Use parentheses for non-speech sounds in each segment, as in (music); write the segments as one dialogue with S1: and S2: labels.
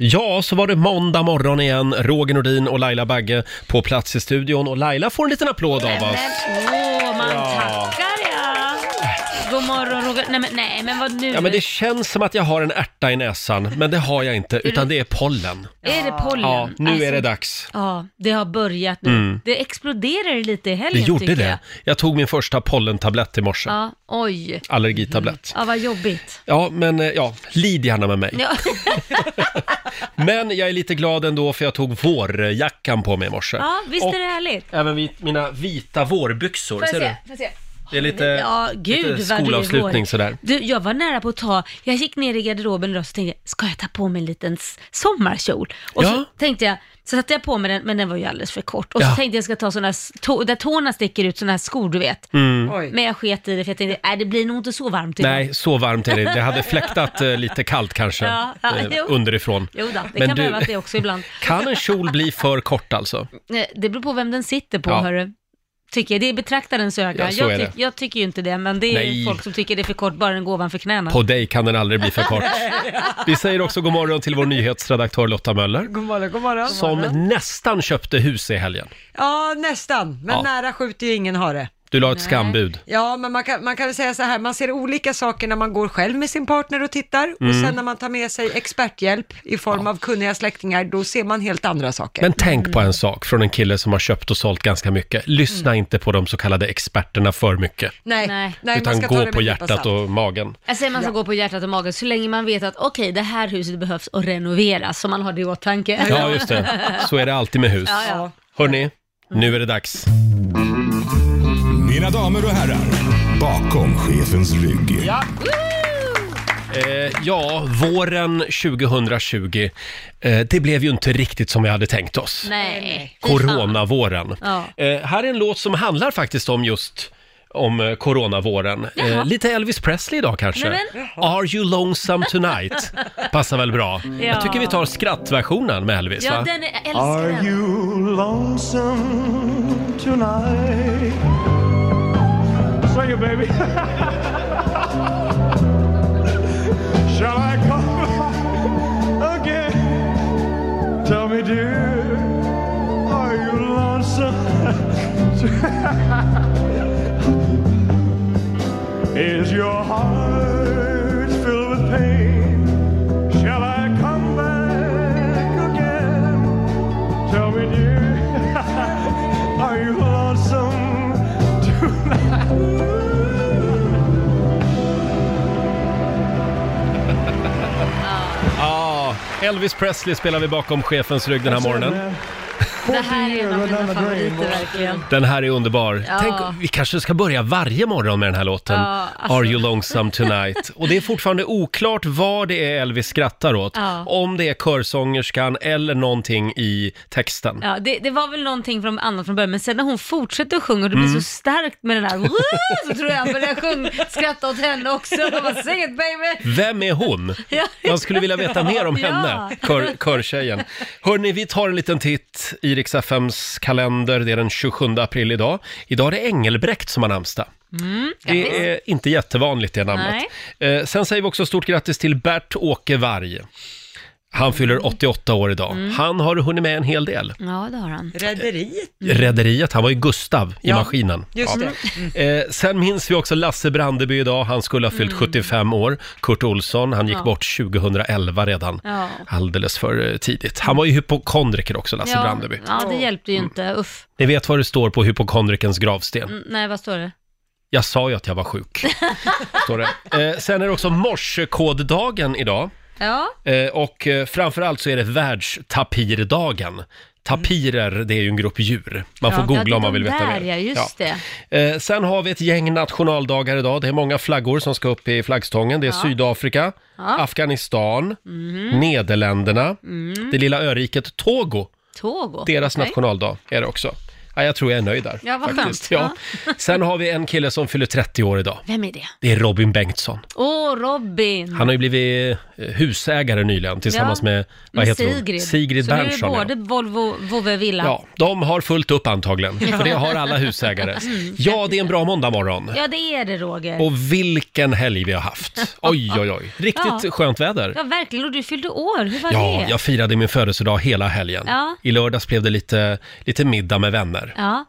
S1: Ja, så var det måndag morgon igen. Roger Nordin och Laila Bagge på plats i studion. Och Laila får en liten applåd av
S2: Men,
S1: oss.
S2: åh, man
S1: Ja.
S2: tackar ja. God morgon Roger. Nej men, nej, men vad nu?
S1: Ja, men det känns som att jag har en ärta i näsan, men det har jag inte, utan det är pollen.
S2: Är det pollen?
S1: Ja, nu
S2: Alltså,
S1: är det dags.
S2: Ja, det har börjat nu.
S1: Mm.
S2: Det exploderade lite i
S1: Det
S2: helgen
S1: gjorde
S2: tycker
S1: det.
S2: jag.
S1: Jag tog min första pollentablett i morse.
S2: Ja, oj.
S1: Allergitablett.
S2: Ja, vad jobbigt.
S1: Ja, men eh, ja, lid gärna med mig. (laughs)
S2: Ja.
S1: Men jag är lite glad ändå för jag tog vårjackan på mig i morse.
S2: ja, visst
S1: Och
S2: är det härligt?
S1: även vit- mina vita vårbyxor,
S2: Får jag
S1: ser du?
S2: se? Får jag se?
S1: Det är lite,
S2: Ja, gud
S1: Eh, lite
S2: vad du är
S1: skolavslutning
S2: vår.
S1: sådär.
S2: Du, jag var nära på att ta, jag gick ner i garderoben idag och så tänkte jag, ska jag ta på mig en liten s- sommarkjol? Och
S1: Ja.
S2: så tänkte jag, så satte jag på mig den, men den var ju alldeles för kort. Och
S1: Ja.
S2: så tänkte jag ska ta sådana, s- tå, där tårna sticker ut, sådana här skor du vet.
S1: Mm.
S2: Men jag sket i det för jag tänkte, nej det blir nog inte så varmt idag.
S1: Nej, så varmt är det Det hade fläktat eh, lite kallt kanske,
S2: Ja, ja,
S1: eh,
S2: jo.
S1: underifrån.
S2: Jo då, det
S1: Men
S2: kan
S1: du-
S2: behövas det också ibland.
S1: Kan en kjol bli för kort alltså?
S2: Eh, Det beror på vem den sitter på,
S1: Ja.
S2: hörru. Tycker jag. Det är betraktarens öga.
S1: Ja, så är
S2: jag,
S1: det.
S2: jag tycker ju inte det, men det är
S1: Nej.
S2: folk som tycker det är för kort, bara den går ovanför knäna.
S1: På dig kan den aldrig bli för kort. Vi säger också god morgon till vår nyhetsredaktör Lotta Möller.
S3: God morgon, god morgon.
S1: Som nästan köpte hus i helgen.
S3: Ja, nästan. Men
S1: Ja.
S3: nära skjuter ju ingen hare.
S1: Du la ett skambud.
S3: Ja, men man kan, man kan väl säga så här, man ser olika saker när man går själv med sin partner och tittar och
S1: Mm.
S3: sen när man tar med sig experthjälp i form av kunniga släktingar, då ser man helt andra saker.
S1: Men tänk på en sak från en kille som har köpt och sålt ganska mycket. Lyssna inte på de så kallade experterna för mycket.
S3: Nej, Mm. nej, man
S1: utan
S3: ska ta det
S1: gå
S3: med
S1: på
S3: en nypa
S1: hjärtat
S3: salt.
S1: och magen.
S2: Jag Alltså, säger man ska gå på hjärtat och magen så länge man vet att okej, det här huset behövs och renoveras, så man har det i åtanke.
S1: Ja, just det.
S3: (laughs)
S1: Så är det alltid med hus.
S2: Ja, ja.
S1: Hörni, nu
S3: Mm.
S1: är det dags.
S4: Mina damer och herrar, bakom chefens rygg. Ja.
S1: Eh, ja, våren 2020. Eh, det blev ju inte riktigt som vi hade tänkt oss.
S2: Nej. Fy fan.
S1: Coronavåren.
S2: Ja.
S1: Eh, här är en låt som handlar faktiskt om just om eh, coronavåren. Eh,
S2: Jaha.
S1: lite Elvis Presley idag kanske.
S2: Nej, men-
S1: Are you lonesome
S2: (laughs)
S1: tonight? Passar väl bra. Jag tycker vi tar skrattversionen med Elvis
S2: Ja,
S1: va?
S2: den är, jag
S5: Are
S2: älskar den.
S5: you lonesome tonight? Sing it, baby. (laughs) Shall I come (laughs) again? Tell me, dear, are you lonesome? tonight? (laughs) Is your heart filled with pain? Shall I come back again? Tell me, dear, (laughs) are you lonesome tonight?
S1: Ja, Elvis Presley spelar vi bakom chefens rygg den
S6: Alltså,
S1: här morgonen.
S2: Det här är en av mina favoriter verkligen.
S1: Den här är underbar.
S2: Ja.
S1: Tänk, vi kanske ska börja varje morgon med den här låten.
S2: Ja, alltså.
S1: Are you lonesome
S2: (laughs)
S1: tonight? Och det är fortfarande oklart vad det är Elvis skrattar åt.
S2: Ja.
S1: Om det är körsångerskan eller någonting i texten.
S2: Ja, det, det var väl någonting från, annat från början, men sen när hon fortsätter att sjunga och det
S1: Mm.
S2: blir så starkt med den här så tror jag han började sjung, skratta åt henne också. Jag bara, Sing it baby!
S1: Vem är
S2: (laughs)
S1: hon? Man skulle vilja veta mer om
S2: Ja.
S1: henne, kör, körtjejen. Hörni, vi tar en liten titt i Rix FMs kalender. Det är den 27 april idag. Idag är det Engelbrekt som har namnsdag.
S2: Mm, grattis.
S1: Det är inte jättevanligt det namnet. Eh, sen säger vi också stort grattis till Bert-Åke Varg. Han
S2: Mm.
S1: fyller 88 år idag. Han har hunnit med en hel del.
S2: Ja, det har han.
S3: Rederiet,
S1: Rederiet, han var ju Gustav i
S3: Ja,
S1: Maskinen.
S3: just
S1: Ja.
S3: det.
S1: Eh, sen minns vi också Lasse Brandeby idag, han skulle ha fyllt 75 år. Kurt Olsson, han gick
S2: Mm. Ja.
S1: bort 2011 redan.
S2: Ja.
S1: Alldeles för eh, tidigt. Han var ju hypokondriker också, Lasse
S2: Ja,
S1: Brandeby.
S2: ja, det hjälpte
S1: Mm.
S2: ju inte. Uff.
S1: Ni vet vad det står på hypokondrikens gravsten?
S2: Mm, Nej, vad står det?
S1: Jag sa ju att jag var
S2: (laughs)
S1: sjuk. Står det. Eh, sen är det också morsekoddagen idag.
S2: Ja,
S1: Eh, och eh, framförallt så är det världstapirdagen. Tapirer, det är ju en grupp djur. Man får
S2: Ja,
S1: googla
S2: det är
S1: om man vill
S2: de
S1: veta
S2: där,
S1: mer.
S2: Ja, just det.
S1: Eh, sen har vi ett gäng nationaldagar idag. Det är många flaggor som ska upp i flaggstången. Det är Sydafrika, Afghanistan,
S2: Mhm.
S1: Nederländerna, det lilla öriket Togo.
S2: Togo.
S1: Deras
S2: Mhm. Okej.
S1: nationaldag är det också. Ja, jag tror jag är nöjd där.
S2: Ja, vad
S1: faktiskt.
S2: skönt.
S1: Ja.
S2: (laughs)
S1: Sen har vi en kille som fyller 30 år idag.
S2: Vem är det?
S1: Det är Robin Bengtsson.
S2: Åh, Robin!
S1: Han har ju blivit eh, husägare nyligen tillsammans
S2: Ja,
S1: med, vad
S2: med
S1: heter
S2: Sigrid.
S1: hon? Sigrid
S2: Så
S1: Berntsson.
S2: nu
S1: ja.
S2: är det både Volvo, Vovve Villa.
S1: Ja, de har fullt upp antagligen, för det har alla
S2: (laughs)
S1: husägare.
S2: Mm.
S1: Ja, det är en bra måndagmorgon.
S2: Ja, det är det Roger.
S1: Och vilken helg vi har haft! Oj, oj, oj. Riktigt
S2: Ja.
S1: skönt väder.
S2: Ja, verkligen. Och du fyllde år. Hur var
S1: Ja,
S2: det?
S1: jag firade min födelsedag hela helgen.
S2: Ja.
S1: I lördags blev det lite, lite middag med vänner.
S2: Ja.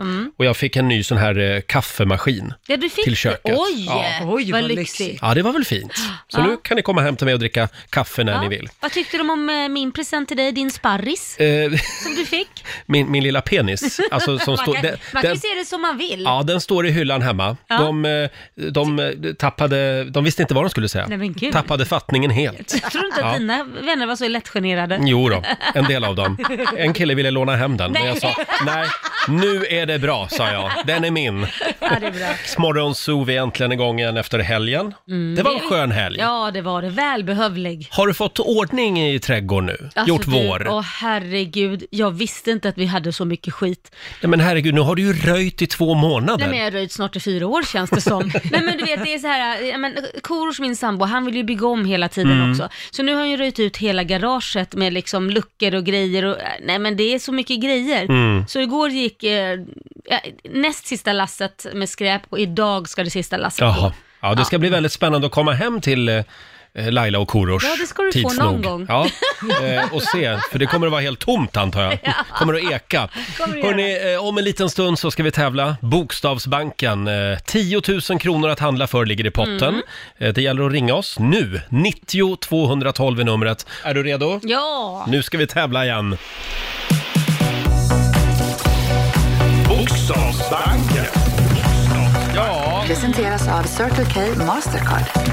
S2: Mm.
S1: Ja. Och jag fick en ny sån här eh, kaffemaskin.
S2: Ja, du fick
S1: Till
S2: det.
S1: köket.
S2: Oj,
S1: Ja.
S3: Oj, vad lyxigt.
S1: Ja, det var väl fint. Så
S2: (gasps) Ja.
S1: nu kan ni komma hem till mig och dricka kaffe när
S2: Ja.
S1: ni vill.
S2: Vad tyckte de om eh, min present till dig, din sparris
S1: Eh, (laughs)
S2: som du fick?
S1: min, min lilla penis, alltså som
S2: man
S1: står...
S2: kan,
S1: den-
S2: man kan
S1: den-
S2: ju se det som man vill.
S1: Ja, den står i hyllan hemma.
S2: Ja.
S1: De, eh, de eh, tappade, de visste inte vad de skulle säga.
S2: Nej, men gud.
S1: tappade fattningen helt.
S2: Jag tror inte att
S1: Ja. Mm.
S2: dina vänner var så lättgenerade.
S1: Jo då, en del av dem. En kille ville låna hem den, men jag sa nej, nu är det bra, sa jag. Den är min.
S2: Ja, det är bra.
S1: Morgonzoo, vi är äntligen igång igen efter helgen. Det var en skön helg.
S2: Mm. Ja, det var det. Välbehövlig.
S1: Har du fått ordning i trädgården nu? Gjort
S2: Alltså, du,
S1: vår?
S2: Åh herregud, jag visste inte att vi hade så mycket skit.
S1: Nej, men herregud, nu har du ju röjt i två månader.
S2: Nej men jag har röjt snart i fyra år känns det som. (laughs) Nej men du vet det är så här, ja, men Korosh min sambo, han vill ju bygga om hela tiden också. Så nu har han ju röjt ut hela garaget med liksom luckor och grejer och, nej men det är så mycket grejer. Så igår gick eh, ja, näst sista lasset med skräp och idag ska det sista lasset
S1: Jaha.
S2: gå.
S1: Ja, det ska bli väldigt spännande att komma hem till eh, Laila och Korosh.
S2: Ja, det ska du få
S1: tids
S2: någon
S1: nog.
S2: gång. (laughs)
S1: Ja, eh, och se, för det kommer att vara helt tomt antar jag. Kommer att eka.
S2: Kommer (laughs) det
S1: Hörrni, eh, om en liten stund så ska vi tävla. Bokstavsbanken. Eh, 10 000 kronor att handla för ligger i potten.
S2: Mm.
S1: Eh, det gäller att ringa oss nu. 90 212 är numret. Är du redo?
S2: Ja,
S1: Nu ska vi tävla igen.
S4: Bokstavsbanken.
S1: Ja,
S7: Presenteras av Circle K Mastercard.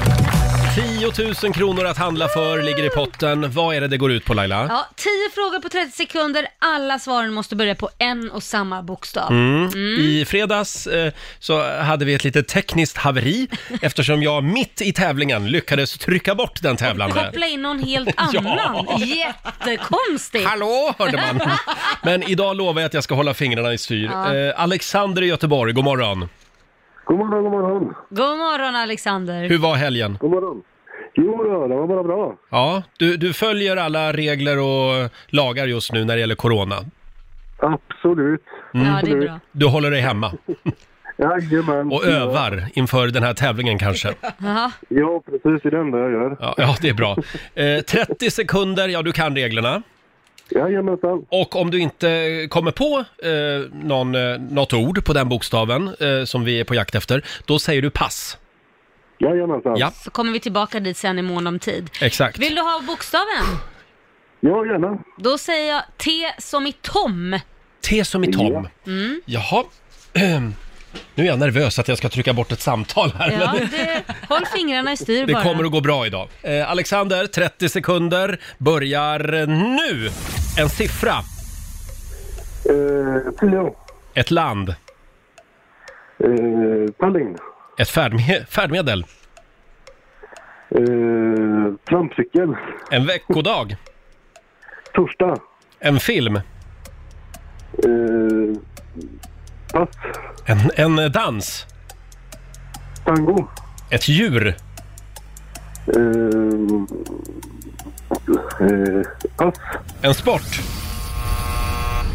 S1: 10 000 kronor att handla för ligger i potten. Vad är det det går ut på Laila?
S2: ja, tio frågor på 30 sekunder, alla svaren måste börja på en och samma bokstav.
S1: I fredags eh, så hade vi ett litet tekniskt haveri eftersom jag mitt i tävlingen lyckades trycka bort den tävlande.
S2: Koppla in någon helt (laughs) annan, jättekonstigt.
S1: Hallå, hörde man. Men idag lovar jag att jag ska hålla fingrarna i styr. Eh, Alexander i Göteborg, god morgon.
S8: God morgon, god morgon.
S2: God morgon Alexander.
S1: Hur var helgen?
S8: God morgon. Jo, då, det var bara bra.
S1: Ja, du, du följer alla regler och lagar just nu när det gäller corona.
S8: Absolut.
S2: Ja, det är bra.
S1: Du håller dig hemma
S8: Jajamän.
S1: och övar inför den här tävlingen kanske.
S2: Jaha.
S8: Ja, precis. Det är det enda jag gör.
S1: Ja, ja det är bra. Eh, 30 sekunder, ja du kan reglerna.
S8: Jajamensan.
S1: Och om du inte kommer på eh, någon, eh, något ord på den bokstaven eh, som vi är på jakt efter, då säger du pass.
S8: Jajamensan.
S1: Ja,
S2: Så kommer vi tillbaka dit sen i mån om tid.
S1: exakt.
S2: Vill du ha bokstaven?
S8: ja, gärna.
S2: Då säger jag T som i Tom.
S1: T som i Tom.
S2: Mm.
S1: Jaha. (clears throat) Nu är jag nervös att jag ska trycka bort ett samtal här.
S2: Ja,
S1: men
S2: det, håll fingrarna i styr
S1: Det
S2: bara.
S1: kommer att gå bra idag. Eh, Alexander, 30 sekunder börjar nu. En siffra,
S8: Eh, tio.
S1: ett land,
S8: Eh, Tallinn.
S1: ett färdme- färdmedel,
S8: Eh, trampcykel.
S1: en veckodag,
S8: Torsdag.
S1: en film,
S8: Eh, pass.
S1: en, en dans,
S8: Tango.
S1: ett djur,
S8: Eh, eh, pass.
S1: en sport.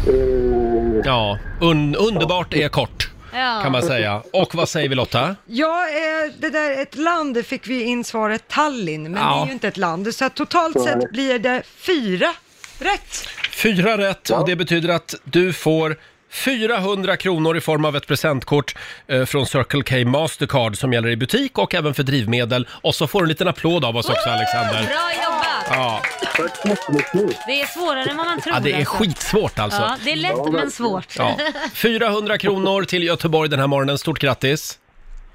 S8: Eh,
S1: Ja, un underbart är kort
S2: Ja.
S1: kan man säga. Och vad säger vi Lotta?
S3: Ja, eh, det där ett land fick vi in svaret Tallinn, men
S1: Ja.
S3: det är ju inte ett land. Så att totalt
S8: är
S3: sett
S8: det.
S3: blir det fyra rätt.
S1: Fyra rätt och det betyder att du får 400 kronor i form av ett presentkort eh, från Circle K Mastercard som gäller i butik och även för drivmedel. Och så får du en liten applåd av oss också Alexander.
S2: Bra jobbat!
S1: Ja,
S8: tack så jättemycket.
S2: Det är svårare än vad man tror.
S1: ja det är
S2: alltså.
S1: skitsvårt alltså.
S2: Ja, det är lätt men svårt.
S1: Ja. 400 kronor till Göteborg den här morgonen. Stort grattis!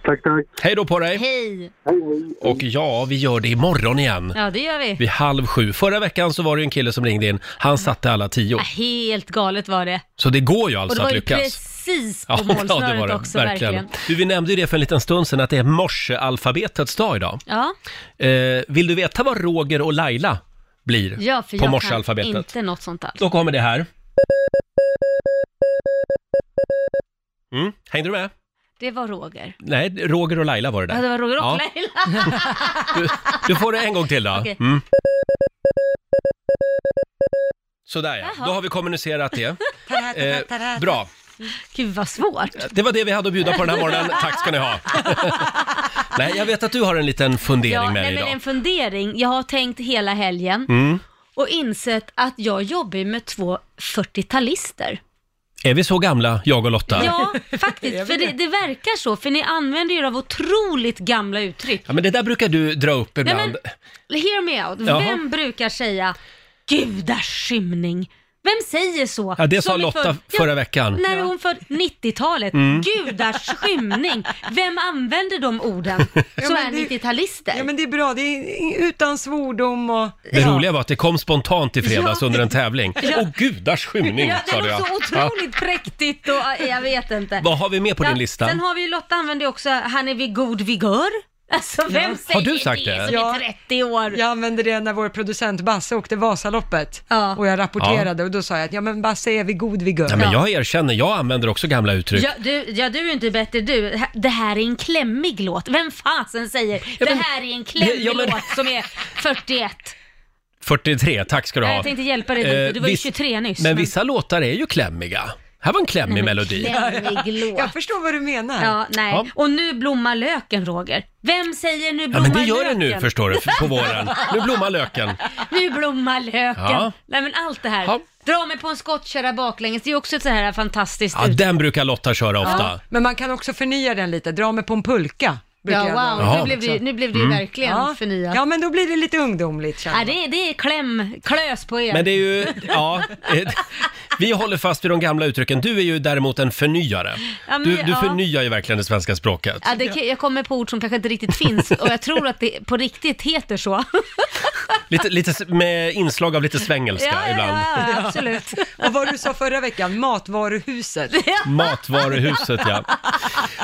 S8: Tack, tack.
S1: Hej då på dig!
S2: Hej!
S8: Hej, hej.
S1: Och ja, vi gör det imorgon igen.
S2: Ja, det gör vi.
S1: Vid halv sju. Förra veckan så var det ju en kille som ringde in. Han satte alla tio.
S2: Ja, Helt galet var det.
S1: Så det går ju
S2: Äh. Och det
S1: alltså
S2: var
S1: att
S2: ju
S1: lyckas.
S2: precis på
S1: Ja, (laughs) ja,
S2: målsnöret
S1: det var det.
S2: också, verkligen. verkligen.
S1: Du, vi nämnde ju det för en liten stund sedan att det är morsealfabetets dag idag.
S2: Ja,
S1: Eh, vill du veta vad Roger och Laila blir
S2: ja för
S1: på
S2: jag kan
S1: morsealfabetet?
S2: inte något sånt alls.
S1: Då kommer det här. Mm. Hängde du med?
S2: Det var Roger.
S1: Nej, Roger och Laila var det där.
S2: Ja, det var Roger och
S1: Ja.
S2: Laila.
S1: Du, du får det en gång till då.
S2: (laughs) Okej.
S1: Mm. Sådär ja,
S2: Jaha.
S1: då har vi kommunicerat
S2: (laughs)
S1: det.
S3: Tada, tada,
S1: Eh,
S3: tada.
S1: bra.
S2: Gud vad svårt.
S1: Det var det vi hade att bjuda på den här morgonen. Tack ska ni ha.
S2: (laughs)
S1: Nej, jag vet att du har en liten fundering
S2: Ja,
S1: med dig
S2: nej, men
S1: idag. Mm.
S2: en fundering. Jag har tänkt hela helgen och insett att jag jobbar ju med två 40-talister.
S1: Är vi så gamla, jag och Lotta?
S2: Ja,
S1: (laughs)
S2: faktiskt. För det, det verkar så, för ni använder ju av otroligt gamla uttryck.
S1: Ja, men det där brukar du dra upp
S2: Nej,
S1: ibland.
S2: men, hear me out.
S1: Jaha.
S2: Vem brukar säga gudars skymning? Vem säger så?
S1: Ja, det
S2: Som
S1: sa
S2: är
S1: Lotta
S2: född-
S1: förra veckan. Mm.
S2: När hon född 90-talet. Gudars skymning. Vem använder de orden
S3: (laughs)
S2: som
S3: men
S2: är
S3: det-
S2: 90-talister?
S3: Ja men det är bra, det är i- utan svordom och...
S1: Det roliga var att det kom spontant i fredags
S2: Ja.
S1: under en tävling.
S2: Ja.
S1: Åh, gudars skymning,
S2: Ja, det
S1: sa du.
S2: var
S1: ja.
S2: så
S1: Ja.
S2: otroligt präktigt och äh, jag vet inte.
S1: Vad har vi med på din lista?
S2: Sen har vi ju Lotta använder ju också, han är vid god vigör. (laughs) Alltså vem säger
S1: Har du sagt det?
S2: som
S3: Ja.
S2: är 30 år?
S3: Jag använde det när vår producent Basse åkte Vasaloppet
S2: Ja.
S3: och jag rapporterade och då sa jag att ja men Basse är vi god vigör.
S1: Nej, men
S2: Ja.
S1: jag erkänner, jag använder också gamla uttryck.
S2: Ja du, ja, du är inte bättre du. H- Det här är en klämmig låt. Vem fasen säger
S1: men-
S2: det här är en klämmig
S1: Ja, men-
S2: låt som är 41?
S1: 43, tack ska du ha.
S2: Nej, jag tänkte hjälpa dig lite.
S1: Eh,
S2: Du var ju
S1: viss-
S2: 23 nyss.
S1: Men vissa låtar är ju klämmiga. Här var en klämmig
S2: Nej, men
S1: melodi.
S2: Klämmig låt.
S3: Jag förstår vad du menar.
S2: Ja, nej.
S1: Ja.
S2: Och nu blommar löken, Roger. Vem säger nu blommar
S1: Ja,
S2: löken?
S1: men det gör den nu förstår du, på
S2: (laughs)
S1: våren. Nu blommar löken.
S2: Nu blommar löken.
S1: Ja.
S2: Nej men allt det här.
S1: Ja.
S2: Dra mig på en skottkärra baklänges, det är också ett så här fantastiskt
S1: Ja,
S2: ut.
S1: den brukar Lotta köra ofta.
S3: Men man kan också förnya den lite, dra mig på en pulka. brukar
S2: Ja,
S3: jag dra.
S2: wow.
S1: Jaha.
S2: Nu blev det, ju- nu blev det
S1: Mm.
S2: ju verkligen förnyat.
S3: ja
S2: Ja.
S3: men då blir det lite ungdomligt känner jag.
S2: det, är- det är kläm, klös på er.
S1: Men det är ju, ja, eh, vi håller fast vid de gamla uttrycken. Du är ju däremot en förnyare.
S2: Ja, men-
S1: Du, du
S2: ja.
S1: förnyar ju verkligen det svenska språket.
S2: Ja, det, kan- jag kommer på ord som kanske inte riktigt finns och jag tror att det på riktigt heter så.
S1: Lite, lite s- med inslag av lite svängelska
S2: ja,
S1: ibland.
S2: ja, ja, absolut.
S3: Och vad du sa förra
S2: (laughs)
S3: veckan, matvaruhuset.
S1: Matvaruhuset, ja.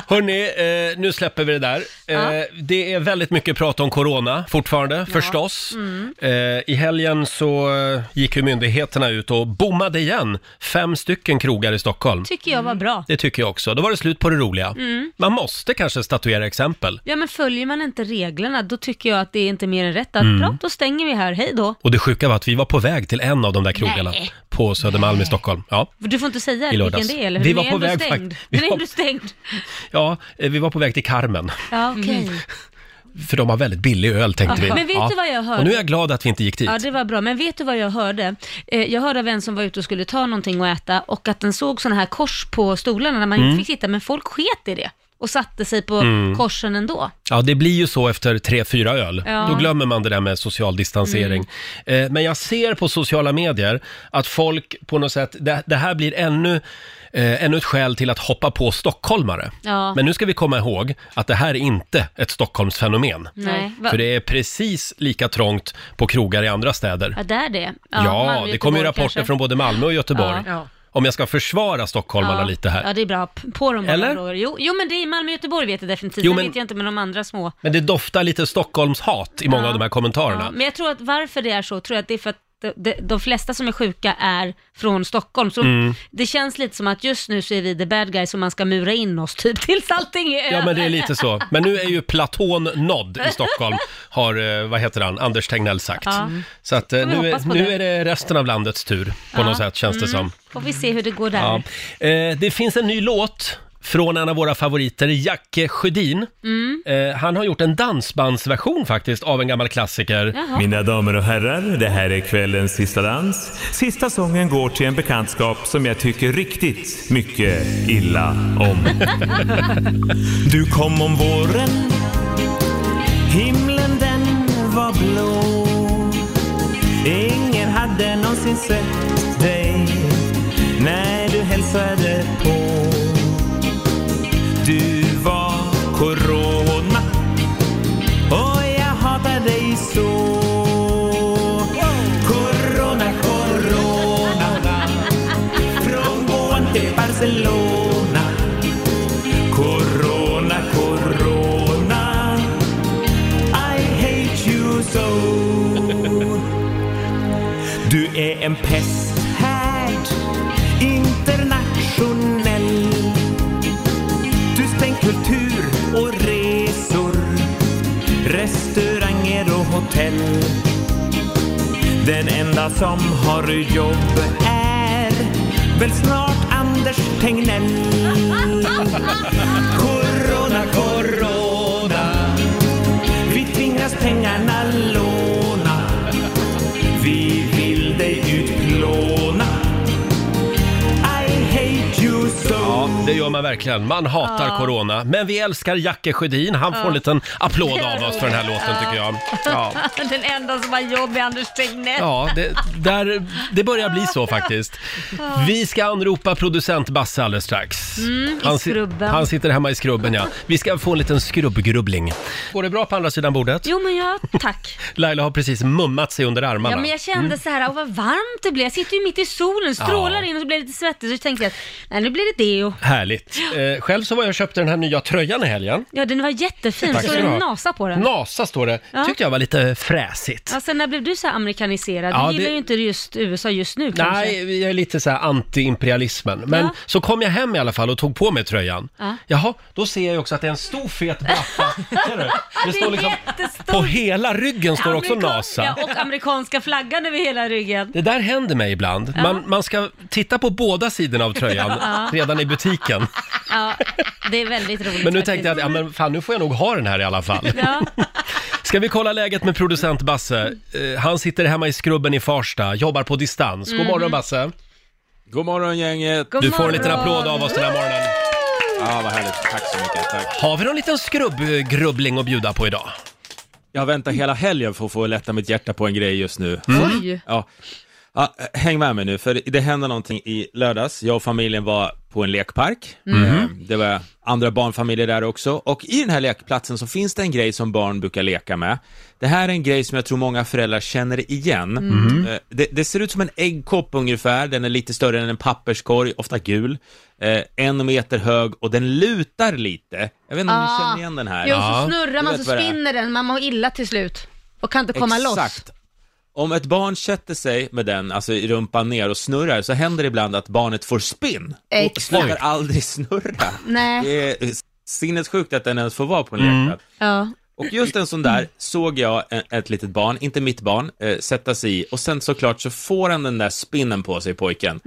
S1: Hörni, eh, nu släpper vi det där. Eh, det är väldigt mycket prat om corona fortfarande, förstås.
S2: Mm.
S1: Eh, I helgen så eh, gick ju myndigheterna ut och bommade igen fem stycken krogar i Stockholm.
S2: Tycker jag var bra.
S1: Det tycker jag också. Då var det slut på det roliga. Man måste kanske statuera exempel.
S2: Ja men följer man inte reglerna då tycker jag att det är inte mer än rätt att
S1: Mm.
S2: bra, då stänger vi här, hej då.
S1: Och det sjuka var att vi var på väg till en av de där krogarna
S2: Nej.
S1: på Södermalm i Stockholm. Ja.
S2: Du får inte säga
S1: I
S2: vilken
S1: lördags.
S2: det är, eller
S1: Vi
S2: Den
S1: var
S2: är
S1: på
S2: ändå
S1: väg
S2: stängd.
S1: fakt- vi
S2: Den är
S1: var-
S2: ändå stängd.
S1: ja, eh, vi var på väg till Carmen,
S2: Ja, okej.
S1: Mm. för de har väldigt billig öl tänkte vi.
S2: Men vet
S1: ja.
S2: du vad jag hörde?
S1: Och nu är jag glad att vi inte gick dit.
S2: Ja, det var bra. Men vet du vad jag hörde? Eh, jag hörde av en som var ute och skulle ta någonting att äta och att den såg sådana här kors på stolarna när man
S1: Mm.
S2: inte fick sitta, men folk sket i det och satte sig på korsen ändå.
S1: Ja, det blir ju så efter tre, fyra öl.
S2: Ja. Mm.
S1: Då glömmer man det där med social distansering. Eh, Men jag ser på sociala medier att folk på något sätt, det, det här blir ännu, eh, ännu ett skäl till att hoppa på stockholmare.
S2: Ja.
S1: Men nu ska vi komma ihåg att det här är inte ett Stockholmsfenomen.
S2: Nej. Mm. Va-
S1: För det är precis lika trångt på krogar i andra städer.
S2: Ja, där det.
S1: Ja,
S2: Malmö,
S1: det
S2: Göteborg
S1: kommer ju rapporter
S2: kanske.
S1: från både Malmö och Göteborg.
S2: Ja.
S3: Ja.
S1: Om jag ska försvara stockholmarna
S2: ja.
S1: lite här.
S2: Ja, det är bra. P- På dem bara,
S1: Eller?
S2: Roger. Jo, jo, men det är i Malmö och Göteborg vet jag definitivt.
S1: Jo,
S2: Jo,
S1: men-
S2: men... vet jag inte med de andra små.
S1: Men det doftar lite Stockholmshat i många av de här kommentarerna.
S2: Ja, men jag tror att varför det är så, tror jag att det är för att de, de, de flesta som är sjuka är från Stockholm. Så
S1: Mm.
S2: Det känns lite som att just nu så är vi the bad guys och man ska mura in oss typ (laughs) tills allting är över.
S1: Ja, men det är lite så. Men nu är ju platån nådd i Stockholm, har, eh, vad heter han, Anders Tegnell sagt.
S2: Ja.
S1: Så att eh,
S2: Får vi
S1: nu,
S2: hoppas
S1: är,
S2: på
S1: nu
S2: det.
S1: är det resten av landets tur, på
S2: Ja. Mm.
S1: något sätt, känns det som.
S2: Får vi se hur det går där.
S1: Ja. Eh, Det finns en ny låt från en av våra favoriter, Jacke Sjödin.
S2: Mm.
S1: Eh, Han har gjort en dansbandsversion faktiskt av en gammal klassiker.
S6: Mina damer och herrar, det här är kvällens sista dans. Sista sången går till en bekantskap som jag tycker riktigt mycket illa om. Du kom om våren, himlen den var blå. Ingen hade någonsin sett dig när du hälsade på. Du var corona och jag hatar dig så Corona, corona Från Goan till Barcelona Corona, corona I hate you so Du är en pesthärd internationell hotell. Den enda som har jobb är väl snart Anders Tegnell. Corona, corona, vi tvingas pengarna låna. Vi vill dig utplåna. I hate you so.
S1: Ja, det gör man verkligen. Man hatar corona. Men vi älskar Jacke Sjödin. Han får en liten applåd av oss för den här låten tycker jag. Ja,
S2: (laughs) Den enda som har jobb är Anders Tegnell.
S1: ja det, där, det börjar bli så faktiskt. Vi ska anropa producent Basse alldeles strax. han, si-
S2: Mm, skrubben.
S1: han sitter hemma i skrubben ja. Vi ska få en liten skrubbgrubbling. Går det bra på andra sidan bordet?
S2: Jo men ja,
S1: (laughs)
S2: tack.
S1: Laila har precis mummat sig under armarna.
S2: Ja, men jag kände så här, åh, vad varmt det blev. Jag sitter ju mitt i solen, strålar
S1: Mm. Ja.
S2: in och så blir jag lite svettig. Så tänkte jag att, nej nu blir det deo.
S1: Härligt. Eh, själv så var jag och köpte den här nya tröjan i helgen.
S2: Ja den var jättefin,
S1: Tack
S2: så
S1: ska du ha.
S2: en nasa på den.
S1: NASA står det.
S2: Ja.
S1: Tyckte jag var lite fräsigt.
S2: Alltså när blev du så här amerikaniserad?
S1: Ja,
S2: du gillar
S1: det-
S2: ju inte just USA just nu kanske.
S1: Nej, jag är lite så här anti-imperialismen. Men
S2: Ja.
S1: så kom jag hem i alla fall och tog på mig tröjan.
S2: Ja.
S1: Jaha, då ser jag ju också att det är en stor fet
S2: (laughs)
S1: braffa. Ser du? Det
S2: Det
S1: står
S2: är
S1: liksom...
S2: jättestort.
S1: På hela ryggen står också
S2: Amerikan-
S1: NASA.
S2: Ja, och amerikanska flaggan över hela ryggen.
S1: Det där händer mig ibland. Man, man ska titta på båda sidorna av tröjan redan i butiken.
S2: (laughs) Ja, det är väldigt roligt
S1: Men nu
S2: faktiskt.
S1: tänkte jag att ja, men fan, nu får jag nog ha den här i alla
S2: (laughs)
S1: fall.
S2: Ja,
S1: Ska vi kolla läget med producent Basse? Eh, han sitter hemma i skrubben i Farsta, jobbar på distans. God morgon Basse!
S9: God morgon gänget!
S2: Mhm. god
S1: Du får en
S2: morgon.
S1: liten applåd av oss den här morgonen.
S9: Ja, vad härligt. Tack så mycket. Tack.
S1: Har vi någon liten skrubbgrubbling att bjuda på idag?
S9: Jag väntar hela helgen för att få lätta mitt hjärta på en grej just nu.
S2: Oj.
S9: Ja. Ja, häng med mig nu, för det hände någonting i lördags. Jag och familjen var på en lekpark.
S2: Mm.
S9: Eh, Det var andra barnfamiljer där också. Och i den här lekplatsen så finns det en grej som barn brukar leka med. Det här är en grej som jag tror många föräldrar känner igen.
S2: Mm.
S9: Eh, Det, det ser ut som en äggkopp ungefär. Den är lite större än en papperskorg, ofta gul. Eh, En meter hög och den lutar lite. Jag vet inte om
S2: Ah.
S9: ni känner igen den här?
S2: Jo,
S1: Ja.
S2: så snurrar
S9: Du
S2: man så
S9: vet vad det är.
S2: spinner den, man mår illa till slut. Och kan inte komma loss.
S9: Exakt. Om ett barn sätter sig med den, alltså i rumpan ner och snurrar, så händer det ibland att barnet får spinn. Och
S2: Exakt.
S9: slutar aldrig snurra.
S2: Nej,
S9: Det är sinnessjukt att den ens får vara på en lekplats.
S10: Mm.
S2: ja.
S9: Och just en sån där såg jag e- ett litet barn, inte mitt barn, eh, sätta sig i och sen såklart så får han den där spinnen på sig, pojken,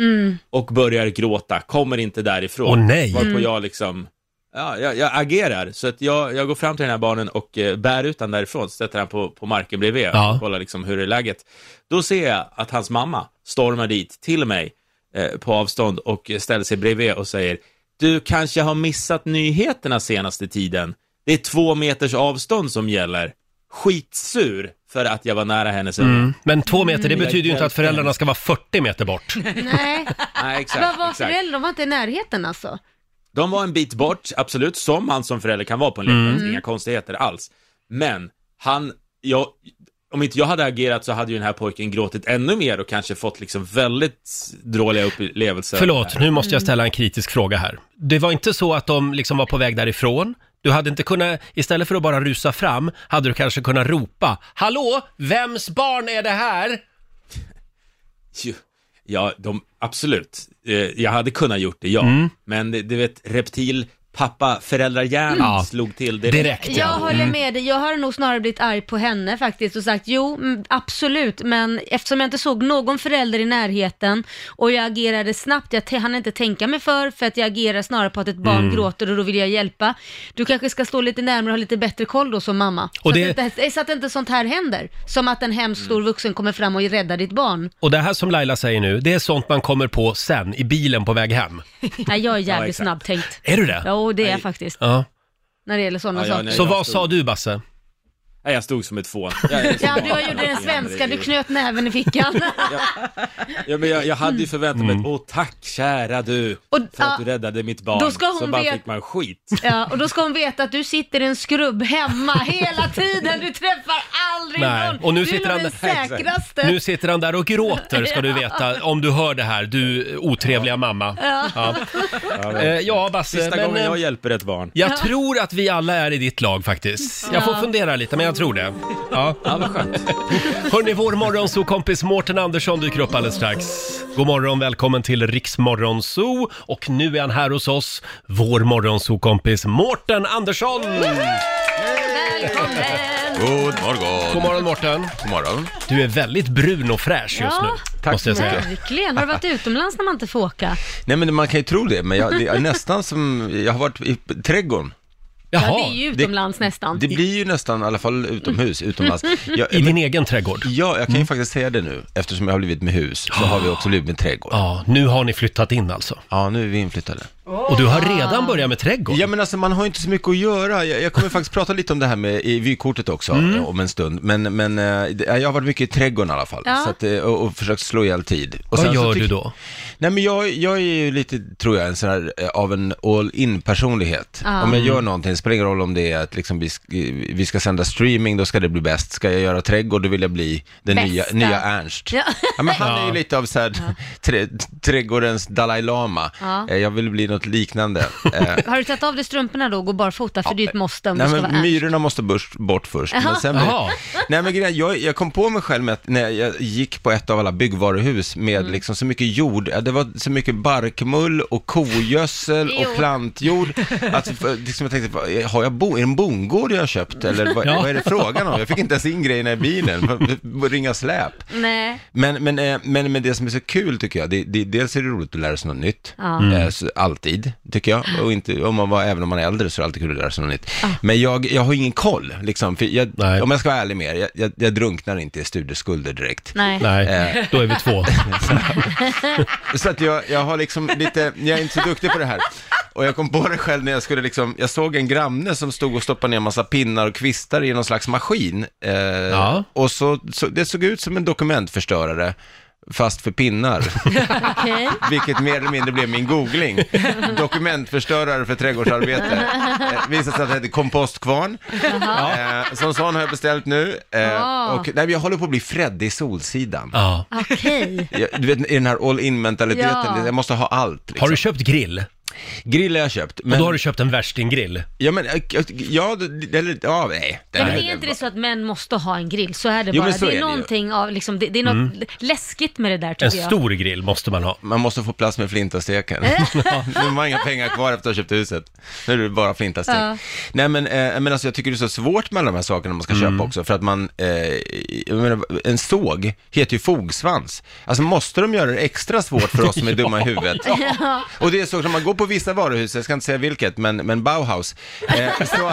S9: och börjar gråta, kommer inte därifrån.
S1: Åh, nej.
S9: Varpå jag liksom, ja, jag, jag agerar, så att jag, jag går fram till den här barnen och eh, bär ut den därifrån, sätter den på, på marken bredvid
S1: Ja.
S9: och kollar liksom hur är läget. Då ser jag att hans mamma stormar dit till mig eh, på avstånd och ställer sig bredvid och säger Du kanske har missat nyheterna senaste tiden. Det är två meters avstånd som gäller. Skitsur för att jag var nära hennes mm.
S1: Men två meter, det
S9: Mm.
S1: betyder ju inte att föräldrarna ska vara 40 meter bort.
S9: (laughs)
S2: nej.
S9: Nej,
S2: Vad
S9: exakt,
S2: var
S9: exakt.
S2: föräldrar? De var inte i närheten alltså.
S9: De var en bit bort, absolut, som man som förälder kan vara på en lekplats,
S2: Mm.
S9: inga konstigheter alls. Men han, jag, om inte jag hade agerat så hade ju den här pojken gråtit ännu mer och kanske fått liksom väldigt dåliga upplevelser. Äh,
S1: Förlåt, nu måste jag ställa en kritisk fråga här. Det var inte så att de liksom var på väg därifrån. Du hade inte kunnat, istället för att bara rusa fram, hade du kanske kunnat ropa Hallå, vems barn är det här?
S9: Jo, Ja, de, absolut. Eh, Jag hade kunnat gjort det, ja.
S2: Mm.
S9: Men det- du vet, reptil, pappa, föräldrahjärnan
S1: Ja.
S9: slog till
S1: Direkt
S2: Jag
S1: ja.
S2: håller med dig. Jag har nog snarare blivit arg på henne faktiskt och sagt jo, mm, absolut, men eftersom jag inte såg någon förälder i närheten och jag agerade snabbt, jag te- hann inte tänka mig för, för att jag agerar snarare på att ett barn gråter och då vill jag hjälpa. Du kanske ska stå lite närmare och ha lite bättre koll då som mamma.
S1: Och
S2: så,
S1: det-
S2: att inte, eh, så att inte sånt här händer. Som att en hemskt stor vuxen kommer fram och räddar ditt barn.
S1: Och det här som Laila säger nu, det är sånt man kommer på sen i bilen på väg hem.
S2: Nej, jag är jävligt
S9: exakt.
S2: snabbtänkt.
S1: Är du det?
S2: Ja, och det är jag faktiskt,
S1: Ja.
S2: när det gäller sådana
S9: Ja, ja,
S2: saker.
S9: nej.
S1: Så
S9: jag
S1: vad
S9: stod-
S1: sa du Basse?
S9: Nej, jag stod som ett fån.
S2: (laughs) Ja, du gjorde den svenska, du knöt näven i fickan.
S9: Ja, men jag, jag hade ju förväntat mig, åh tack kära du,
S2: Mm. Och-
S9: för att
S2: ja.
S9: du räddade mitt barn.
S2: Då ska hon
S9: så bara
S2: veta-
S9: fick
S2: (laughs)
S9: man skit.
S2: Ja, och då ska hon veta att du sitter i en skrubb hemma hela tiden. Du träffar aldrig
S1: Nej,
S2: någon.
S1: och nu
S2: du
S1: sitter
S2: är
S1: han-
S2: nog den säkraste.
S1: Nu sitter han där och gråter ska du veta, om du hör det här, du otrevliga mamma. Ja, Eh, ja Basse,
S9: Sista
S1: men...
S9: gången
S1: eh,
S9: jag hjälper ett barn.
S1: Jag tror att vi alla är i ditt lag faktiskt. Jag får fundera lite, men jag tror
S2: (laughs)
S1: det. Ja.
S9: Ja, vad
S1: (laughs)
S9: skönt.
S1: Hörni, vår morgonsokompis Mårten Andersson dyker upp alldeles strax. God morgon, välkommen till Riksmorgonzoo. Och nu är han här hos oss, vår morgonsokompis Mårten Andersson!
S2: Välkommen!
S10: God morgon.
S1: God morgon Morten.
S10: God morgon.
S1: Du är väldigt brun och fräsch just nu,
S10: Tack
S1: måste jag
S10: så
S1: säga.
S10: mycket.
S2: Verkligen. Har du varit utomlands när man inte får åka?
S10: Nej men man kan ju tro det, men jag, det är nästan som, jag har varit i trädgården.
S2: Ja,
S1: Jaha,
S2: det är ju
S10: det-
S2: utomlands nästan.
S10: Det blir ju nästan, i alla fall utomhus,
S2: Mm. (laughs)
S10: utomlands. Jag,
S1: i din egen trädgård.
S10: ja, jag kan ju faktiskt säga det nu, eftersom jag har blivit med hus, så har vi också blivit med trädgård.
S1: Ja, nu har ni flyttat in alltså.
S10: Ja, nu är vi inflyttade.
S1: Och du har redan börjat med trädgård.
S10: Ja men alltså man har ju inte så mycket att göra. Jag, jag kommer faktiskt prata lite om det här med i vykortet också
S1: Mm.
S10: eh, om en stund. Men, men eh, det- jag har varit mycket i trädgården i alla fall.
S2: Ja.
S10: Så att, eh, och, och försökt slå ihjäl tid. Och
S1: Vad
S10: så
S1: gör
S10: tyck-
S1: du då?
S10: Nej men jag, jag är ju lite, tror jag, en sån här eh, av en all in personlighet.
S2: Ja.
S10: Om jag
S1: Mm.
S10: gör någonting, det spelar ingen roll om det är att liksom vi, sk- vi ska sända streaming, då ska det bli bäst. Ska jag göra trädgård, då vill jag bli den nya,
S2: Bästa.
S10: nya Ernst.
S2: Ja.
S10: Ja, men han är
S1: Ja.
S10: ju lite av så här, trä, trädgårdens Dalai Lama.
S2: Ja.
S10: Eh, Jag vill bli något
S1: (laughs)
S10: liknande. Eh,
S2: Har du tagit av dig strumporna då och går barfota? För det är ju ett måste om
S10: Nej,
S2: du ska
S10: men
S2: vara ärlig.
S10: myrorna måste börs- bort först. Men sen blir...
S1: Jaha.
S10: Nej, men grejen, jag, jag kom på mig själv med att när jag gick på ett av alla byggvaruhus med
S2: Mm.
S10: liksom så mycket jord, ja, det var så mycket barkmull och kogödsel
S2: Jo.
S10: och plantjord, att för- liksom, jag tänkte, vad- har jag bo, är det en bondgård jag har köpt eller vad,
S1: Ja.
S10: vad är det frågan om? Jag fick inte ens in grejerna i bilen, (laughs) för- för- ringa släp.
S2: Nej.
S10: Men, men, eh, men, men det som är så kul tycker jag, det, det, dels är det roligt att lära sig något nytt,
S2: Ja. Mm.
S10: eh, så, alltid tycker jag, och inte, om man var, även om man är äldre så är det alltid kul att lära sig något nytt. Men jag, jag har ingen koll, liksom, för jag,
S1: Nej.
S10: om jag ska vara ärlig med er, jag, jag, jag drunknar inte i studieskulder direkt.
S2: Nej.
S10: Eh.
S1: Nej, då är vi
S10: (laughs)
S1: två.
S10: Så att jag, jag har liksom lite, jag är inte så duktig på det här. Och jag kom på det själv när jag skulle liksom, jag såg en granne som stod och stoppade ner en massa pinnar och kvistar i någon slags maskin. Eh,
S1: Ja.
S10: Och så, så, det såg ut som en dokumentförstörare, fast för pinnar.
S2: Okej.
S10: Vilket mer eller mindre blev min googling. Dokumentförstörare för trädgårdsarbete. Eh, Visade sig att det hette kompostkvarn. Eh, som sån har jag beställt nu. Eh,
S2: Ah.
S10: och, nej, men jag håller på att bli Freddy Solsidan.
S1: Ja.
S2: Okej.
S10: (laughs) Jag, du vet, i den här all-in-mentaliteten,
S2: Ja.
S10: jag måste ha allt. Liksom.
S1: Har du köpt grill?
S10: Grill har jag köpt.
S1: Och
S10: Men,
S1: då har du köpt en värstinggrill.
S10: Ja, men, eh, ja, det- eller, ja, nej.
S2: Ja, men
S10: här-
S2: är inte det så att män måste ha en grill? Så är det
S10: Jo,
S2: bara.
S10: men
S2: det
S10: så är
S2: är,
S10: det ju.
S2: någonting av, liksom, det, det är något läskigt med det där
S1: En
S2: tycker jag.
S1: stor grill måste man ha.
S10: Man måste få plats med flintasteken. (laughs) nu har man inga pengar kvar efter att ha köpt huset. Nu är det bara flintastek.
S2: Ja.
S10: Nej men, eh, men alltså, jag tycker det är så svårt med alla de här sakerna man ska köpa också, för att man, eh, jag menar, en såg heter ju fogsvans. Alltså måste de göra det extra svårt för oss som är dumma i huvudet? Och det är så, när man går på vissa varuhus, jag ska inte säga vilket, men, men Bauhaus, eh, så,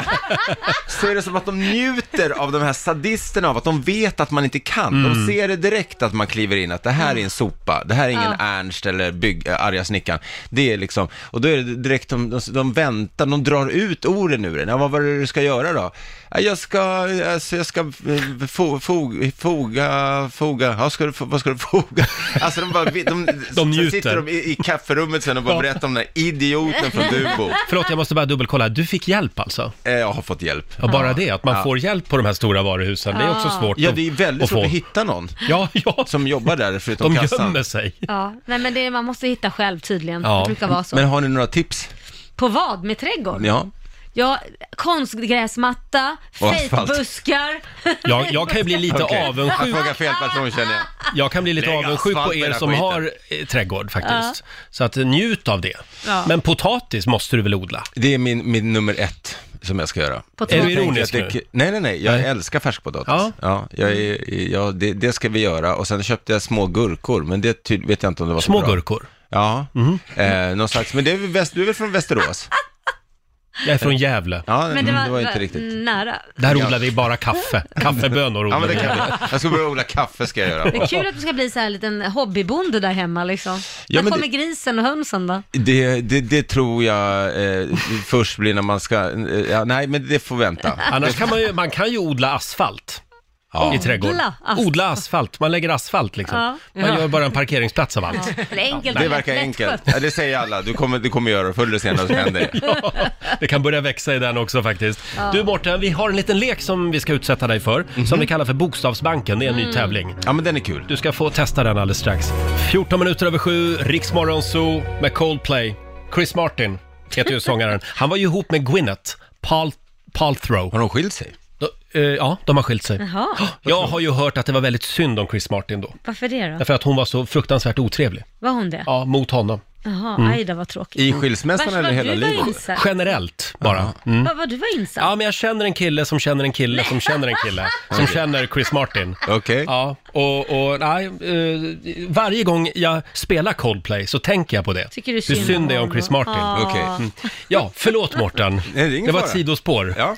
S10: så är det som att de njuter av de här sadisterna, av att de vet att man inte kan.
S1: Mm.
S10: De ser det direkt att man kliver in, att det här är en sopa, det här är ingen Ernst eller bygg, äh, arga snickaren. Det är liksom, och då är det direkt, de, de, de väntar, de drar ut orden ur en. Ja, vad var det du ska göra då? "Ja, Jag ska, alltså, jag ska eh, fo, fo, foga, foga, ja, ska du, fo- vad ska du foga? (laughs) Alltså de bara,
S1: (laughs)
S10: vi- de, sen
S1: njuter.
S10: sitter de i, i kafferummet sen och bara
S1: Ja.
S10: berättar om den här idioten från
S1: (laughs)
S10: Dubo.
S1: Förlåt, jag måste bara dubbelkolla. Du fick hjälp alltså?
S10: Eh, Jag har fått hjälp.
S1: Ja, bara det, att man
S10: Ja.
S1: får hjälp på de här stora varuhusen. Det är också svårt
S10: Ja,
S1: att-
S10: det är väldigt svårt
S1: få.
S10: att hitta någon.
S1: Ja, ja.
S10: som jobbar där förutom
S1: De
S10: kassan.
S1: gömmer sig.
S2: Ja, nej men det, man måste hitta själv tydligen.
S1: Ja.
S2: Det brukar vara så.
S10: Men har ni några tips?
S2: På vad? Med trädgård? Ja,
S10: Ja.
S2: konstgräsmatta,
S10: Och
S1: (laughs)
S10: asfalt.
S2: fejkbuskar.
S1: Jag, jag kan ju bli lite
S10: Okej. Jag
S1: avundsjuk.
S10: frågar fel person känner jag.
S1: Jag kan bli lite
S10: Lägg
S1: avundsjuk på
S10: asfalt i
S1: er
S10: den här
S1: som
S10: skiten.
S1: har eh, trädgård faktiskt. Så att eh, njut av det.
S2: Ja.
S1: Men potatis måste du väl odla?
S10: Det är min, min nummer ett som jag ska göra.
S2: Potatis.
S1: Är du
S10: Jag tänker
S1: ironisk
S10: att det-
S1: nu?
S10: Nej, nej, nej. Jag
S1: Nej.
S10: älskar färskpotatis.
S1: Ja.
S10: Ja. Ja, jag är, ja, det, det ska vi göra. Och sen köpte jag små gurkor, men det ty- vet jag inte om det var så
S1: Små
S10: bra.
S1: gurkor.
S10: Ja, eh, någon slags, men det är väl väst, du är väl från Västerås?
S1: Jag är från Gävle.
S10: Ja, mm,
S2: Men det var, Mm.
S10: inte riktigt.
S2: nära.
S1: Där
S10: Ja.
S1: odlar vi bara kaffe.
S10: (laughs)
S1: Kaffebönor
S10: Ja,
S1: odlar
S10: men det
S1: vi.
S10: kan vi. Jag ska börja odla kaffe ska jag göra.
S2: Det är kul att du ska bli så här en liten hobbybonde där hemma liksom.
S10: Ja,
S2: När
S10: men
S2: kommer
S10: det-
S2: grisen och hönsen då?
S10: Det, det, det tror jag eh, först blir när man ska, eh, ja, nej men det får vänta.
S1: Annars kan man ju, man kan ju odla asfalt.
S10: Ja.
S1: I trädgården.
S2: Odla asfalt.
S1: Odla asfalt. Man lägger asfalt liksom.
S2: Ja.
S1: Man gör bara en parkeringsplats av allt.
S2: Eller enkelt
S10: Det
S2: och
S10: verkar
S2: lätt-
S10: enkelt.
S2: lättskött.
S10: Ja, det säger alla. Du kommer, du kommer göra det. Förr eller senare så händer det.
S1: Det kan börja växa i den också faktiskt. Du Mårten, vi har en liten lek som vi ska utsätta dig för.
S10: Mhm.
S1: Som vi kallar för Bokstavsbanken. Det är en
S2: Mm.
S1: ny tävling.
S10: Ja, men den är kul.
S1: Du ska få testa den alldeles strax. 14 minuter över sju, Riksmorgon Zoo med Coldplay. Chris Martin heter ju sångaren. Han var ju ihop med Gwyneth Pal- Paltrow.
S10: Har de skilt sig?
S1: De, eh, ja, de har skilt sig.
S2: Jaha,
S1: Jag har ju hört att det var väldigt synd om Chris Martin då.
S2: varför det då?
S1: Därför att hon var så fruktansvärt otrevlig.
S2: Var hon det?
S1: Ja, mot honom.
S2: Jaha,
S1: Mm.
S2: aj då vad tråkigt.
S1: I skilsmässan
S2: Vars
S1: eller
S2: var
S1: hela
S2: du var
S1: livet?
S2: insatt?
S1: Generellt bara. Mm.
S2: Vad vad du var insatt?
S1: Ja, men jag känner en kille som känner en kille som känner en kille
S10: (laughs)
S1: som
S2: Okej.
S1: känner Chris Martin.
S10: Okej.
S1: Ja, och, och nej, eh, varje gång jag spelar Coldplay så tänker jag på det.
S2: Tycker du
S1: Hur
S2: synd
S1: synd det är om
S2: om
S1: Chris
S2: honom?
S1: Martin.
S2: Ah. Okej.
S1: Mm. Ja, förlåt Mårten.
S10: (laughs) Nej, det är
S1: Det,
S10: ingen
S1: var ett
S10: fara.
S1: sidospår.
S10: Ja.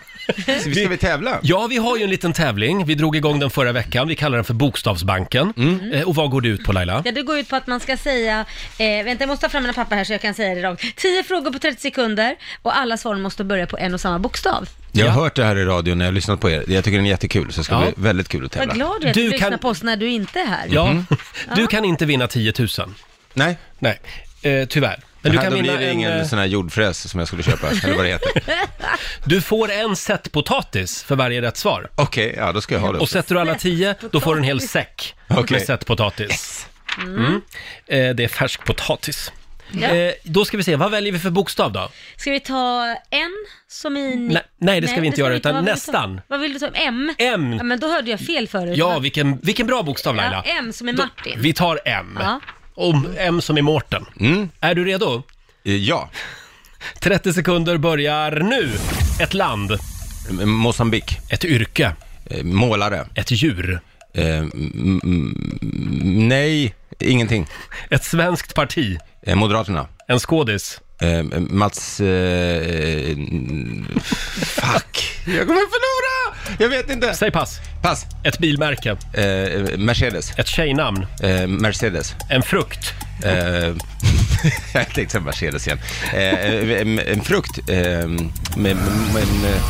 S10: Ska vi tävla?
S1: Ja, vi har ju en liten tävling. Vi drog igång den förra veckan. Vi kallar den för Bokstavsbanken.
S10: Mm.
S1: Eh, Och vad går det ut på Laila?
S2: Ja, det går ut på att man ska säga, eh, vänta jag måste ta fram mina papper här så jag kan säga det rakt. 10 frågor på 30 sekunder och alla svaren måste börja på en och samma bokstav.
S10: Jag har hört det här i radion när jag har lyssnat på er. Jag tycker den är jättekul, så det ska
S1: Ja.
S10: bli väldigt kul att tävla.
S2: Vad glad du är att
S1: Du
S2: du lyssnar
S1: kan-
S2: på oss när du inte är här.
S1: Ja,
S10: Mm.
S1: (laughs) du
S2: Ja.
S1: kan inte vinna 10 000.
S10: Nej.
S1: Nej, eh, tyvärr.
S10: Men
S1: Men du
S10: du här,
S1: kan
S10: då
S1: vinna
S10: blir det
S1: en,
S10: ingen
S1: eh,
S10: sån här jordfräs som jag skulle köpa, eller vad det heter.
S1: (laughs) Du får en set potatis för varje rätt svar.
S10: Okej, ja då ska jag ha det.
S1: Och sätter du alla 10, då får du en hel säck
S10: Okej.
S1: med set potatis. Mm. Eh, det är färsk potatis.
S2: Ja.
S1: Eh, då ska vi se, vad väljer vi för bokstav då?
S2: (laughs) Ska vi ta en som i... ni-
S1: Nej, nej, det ska vi inte göra, utan
S2: Vad vill du ta?
S1: nästan.
S2: Vad vill du ta? M?
S1: M.
S2: Ja, men då hörde jag fel förut.
S1: Ja,
S2: Vad-
S1: vilken, vilken bra bokstav Laila.
S2: ja, M som i
S1: Då-
S2: Martin.
S1: Vi tar M.
S2: Ja.
S1: Om M som i Mårten.
S10: Mm.
S1: Är du redo?
S10: Eh, Ja.
S1: 30 sekunder börjar nu. Ett land.
S10: Mosambik. Eh,
S1: Ett yrke.
S10: Målare.
S1: Ett djur.
S10: Eh, nej, ingenting.
S1: Ett svenskt parti.
S10: Eh, Moderaterna.
S1: En skådis.
S10: Eh, Mats... Eh, n- fuck. Jag kommer förlora! Jag vet inte.
S1: Säg pass.
S10: Pass.
S1: Ett bilmärke.
S10: Eh, Mercedes.
S1: Ett tjejnamn.
S10: Eh, Mercedes.
S1: En frukt.
S10: Eh, (laughs) jag tänkte säga Mercedes igen. Eh, en, en frukt. Eh, men, men, men, eh,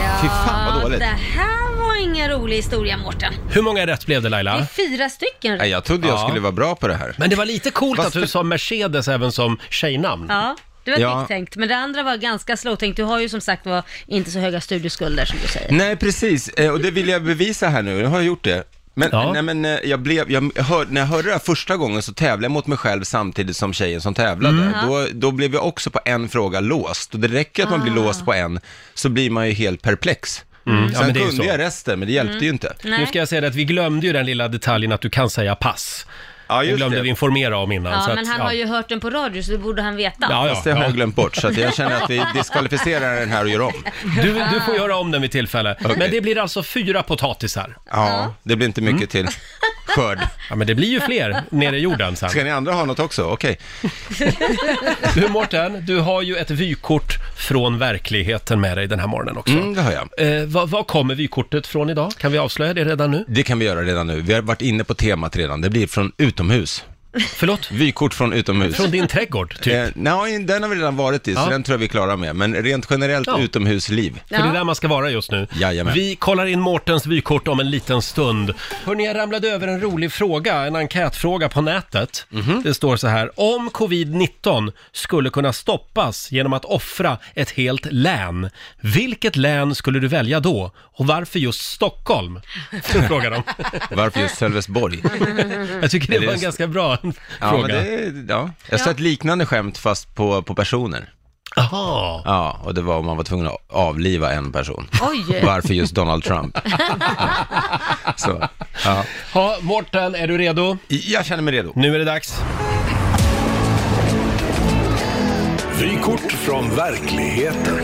S2: Ja,
S10: Fy fan, vad dåligt.
S2: Det här var ingen rolig historia, Mårten.
S1: Hur många rätt blev det
S2: Det är
S1: Laila?
S2: fyra stycken.
S10: Nej, jag trodde jag
S1: Ja.
S10: skulle vara bra på det här.
S1: Men det var lite coolt
S10: Vad
S1: att du sa Mercedes även som tjejnamn.
S2: Ja, det var
S10: Ja.
S2: kvickt tänkt. Men det andra var ganska slowtänkt. Du har ju som sagt var inte så höga studieskulder som du säger.
S10: Nej, precis. Eh, och det vill jag bevisa här nu. Nu har jag gjort det. Men, nej, men eh, jag blev, jag hör, när jag hörde det här första gången så tävlade jag mot mig själv samtidigt som tjejen som tävlade.
S2: Mm.
S10: Då, då blev jag också på en fråga låst. Och det räcker att man blir låst på en, så blir man ju helt perplex.
S1: Mm. Ja,
S10: Sen
S1: men det är ju
S10: kunde
S1: så.
S10: jag resten, men det hjälpte ju inte.
S1: Nu ska jag säga det att vi glömde ju den lilla detaljen att du kan säga pass.
S10: Ja,
S1: det
S10: just
S1: glömde
S10: det.
S1: vi informera om innan.
S2: Ja,
S1: så att,
S2: men han
S1: ja.
S2: har ju hört den på radio så det borde han veta.
S1: Ja, ja.
S10: Fast det har jag glömt bort, så att jag känner att vi diskvalificerar den här och gör om.
S1: Du, du får göra om den vid tillfälle.
S10: Okej.
S1: Men det blir alltså fyra potatisar.
S10: Ja, det blir inte mycket
S1: Mm.
S10: till skörd.
S1: Ja, men det blir ju
S2: (laughs)
S1: fler nere i jorden sen.
S10: Ska ni andra ha något också? Okej.
S1: Du Mårten, du har ju ett vykort från verkligheten med dig den här morgonen också.
S10: Mm, det har jag.
S1: Eh, vad, vad kommer vykortet från idag? Kan vi avslöja det redan nu?
S10: Det kan vi göra redan nu. Vi har varit inne på temat redan. Det blir från utomhus.
S1: Förlåt?
S10: Vykort från utomhus.
S1: Från din trädgård, typ?
S10: Eh, nej, den har vi redan varit i,
S1: Ja.
S10: så den tror jag vi klarar med. Men rent generellt
S1: Ja.
S10: utomhusliv.
S1: För det är där man ska vara just nu.
S10: Jajamän.
S1: Vi kollar in Mårtens vykort om en liten stund. Hörrni, jag ramlade över en rolig fråga, en enkätfråga på nätet.
S10: Mhm.
S1: Det står så här, om covid-19 skulle kunna stoppas genom att offra ett helt län, vilket län skulle du välja då? Och varför just Stockholm? (laughs) Frågar de.
S10: Varför just
S2: (laughs)
S10: Sölvesborg?
S1: Jag tycker det
S10: Eller
S1: var en
S10: just-
S1: ganska bra
S10: Ja, men
S1: fråga.
S10: det, ja. Jag sa
S2: Ja.
S10: ett liknande skämt fast på, på personer.
S1: Jaha.
S10: Ja, och det var om man var tvungen att avliva en person.
S2: Oj!
S10: Varför just
S2: (laughs)
S10: Donald Trump? så, ja.
S1: Ha, Mårten, är du redo?
S10: Jag känner mig redo.
S1: Nu är det dags.
S4: Vykort från verkligheten.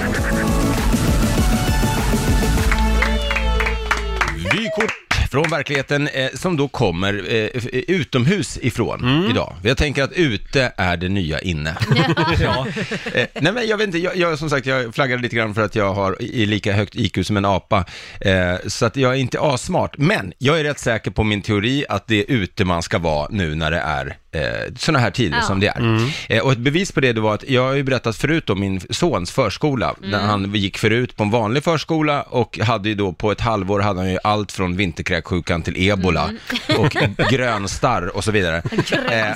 S10: Vykort från verkligheten eh, som då kommer eh, f- utomhus ifrån idag. Jag tänker att ute är det nya inne. (laughs) ja. eh, nej men jag vet inte, jag, jag, som sagt jag flaggade lite grann för att jag har i i lika högt IQ som en apa. Eh, så att jag är inte asmart, men jag är rätt säker på min teori att det är ute man ska vara nu när det är eh, sådana här tider
S2: Ja.
S10: som det är. Eh, och ett bevis på det, det var att jag har ju berättat förut om min sons förskola, när han gick förut på en vanlig förskola och hade ju då på ett halvår hade han ju allt från vinterkräksjukan till ebola (laughs) och grönstarr och så vidare. Eh,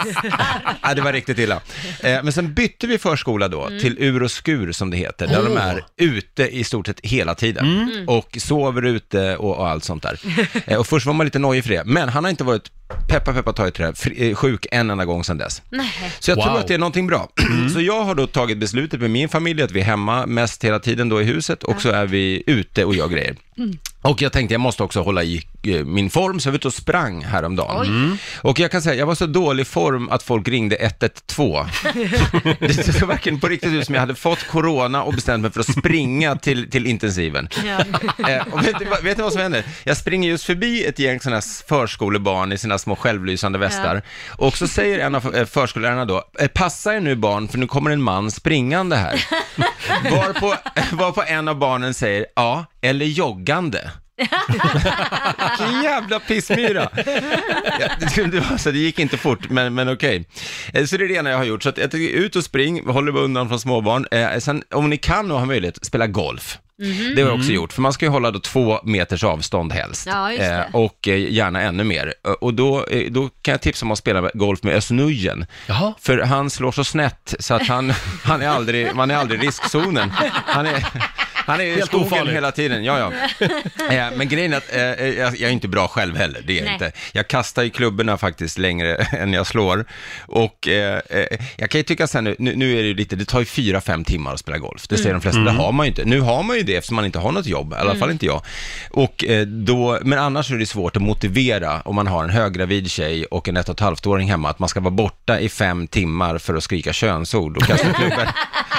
S10: ja, det var riktigt illa. Eh, men sen bytte vi förskola då till ur och skur som det heter, där de
S1: Åh.
S10: är ute i stort sett hela tiden Mm. och sover ute och, och allt sånt där. Eh, och först var man lite nojig för det, men han har inte varit, peppa peppa ta i trä, fri- eh, sjuk en enda gång sedan dess.
S2: Nej.
S10: Så jag
S1: Wow.
S10: tror att det är någonting bra. (clears throat) Så jag har då tagit beslutet med min familj att vi är hemma mest hela tiden då i huset och så är vi ute och gör grejer. Och jag tänkte jag måste också hålla i eh, min form, så jag var ute och sprang häromdagen.
S5: Oj.
S10: Mm. Och jag kan säga, jag var så dålig form att folk ringde 112. Det såg verkligen på riktigt ut som jag hade fått corona och bestämt mig för att springa till, till intensiven. (laughs) Eh, och vet, ni vad- vet ni vad som händer? Jag springer just förbi ett gäng sådana här förskolebarn i sina små självlysande västar. Och så säger en av eh, förskollärarna då, "Eh, passa er nu barn, för nu kommer en man springande här. Varpå, varpå en av barnen säger, ja, eller joggande. Vilken jävla pissmyra! Ja, det- det, var, så det gick inte fort, men, men okej. Eh, Så det är det ena jag har gjort. Så att jag tycker, ut och spring, håller mig undan från småbarn. Eh, sen, om ni kan och har möjlighet, spela golf.
S5: Mhm.
S10: Det har jag också gjort, för man ska ju hålla då två meters avstånd helst.
S5: Mm. Ja, just det.
S10: Eh, och eh, gärna ännu mer. Eh, Och då, eh, då kan jag tipsa om att spela golf med Özz Nujen. För han slår så snett så att han, han är aldrig, man är aldrig i riskzonen. Han är, han är i
S5: Helt
S10: skogen
S5: ofarlig.
S10: hela tiden. Ja, ja.
S5: (laughs)
S10: Eh, Men grejen är att eh, eh, jag jag är inte bra själv heller, det är jag
S5: Nej.
S10: inte. Jag kastar ju klubborna faktiskt längre (laughs) än jag slår. Och eh, eh, jag kan ju tycka sen, nu, nu är det ju lite, det tar ju fyra, fem timmar att spela golf. Det säger
S5: Mm.
S10: de flesta,
S5: Mm.
S10: det har man ju inte. Nu har man ju det eftersom man inte har något jobb, i alla
S5: Mm.
S10: fall inte jag. Och, eh, då, men annars är det svårt att motivera om man har en höggravid tjej och en ett och ett halvt-åring hemma, att man ska vara borta i fem timmar för att skrika könsord och
S5: (laughs)
S10: kasta klubbor.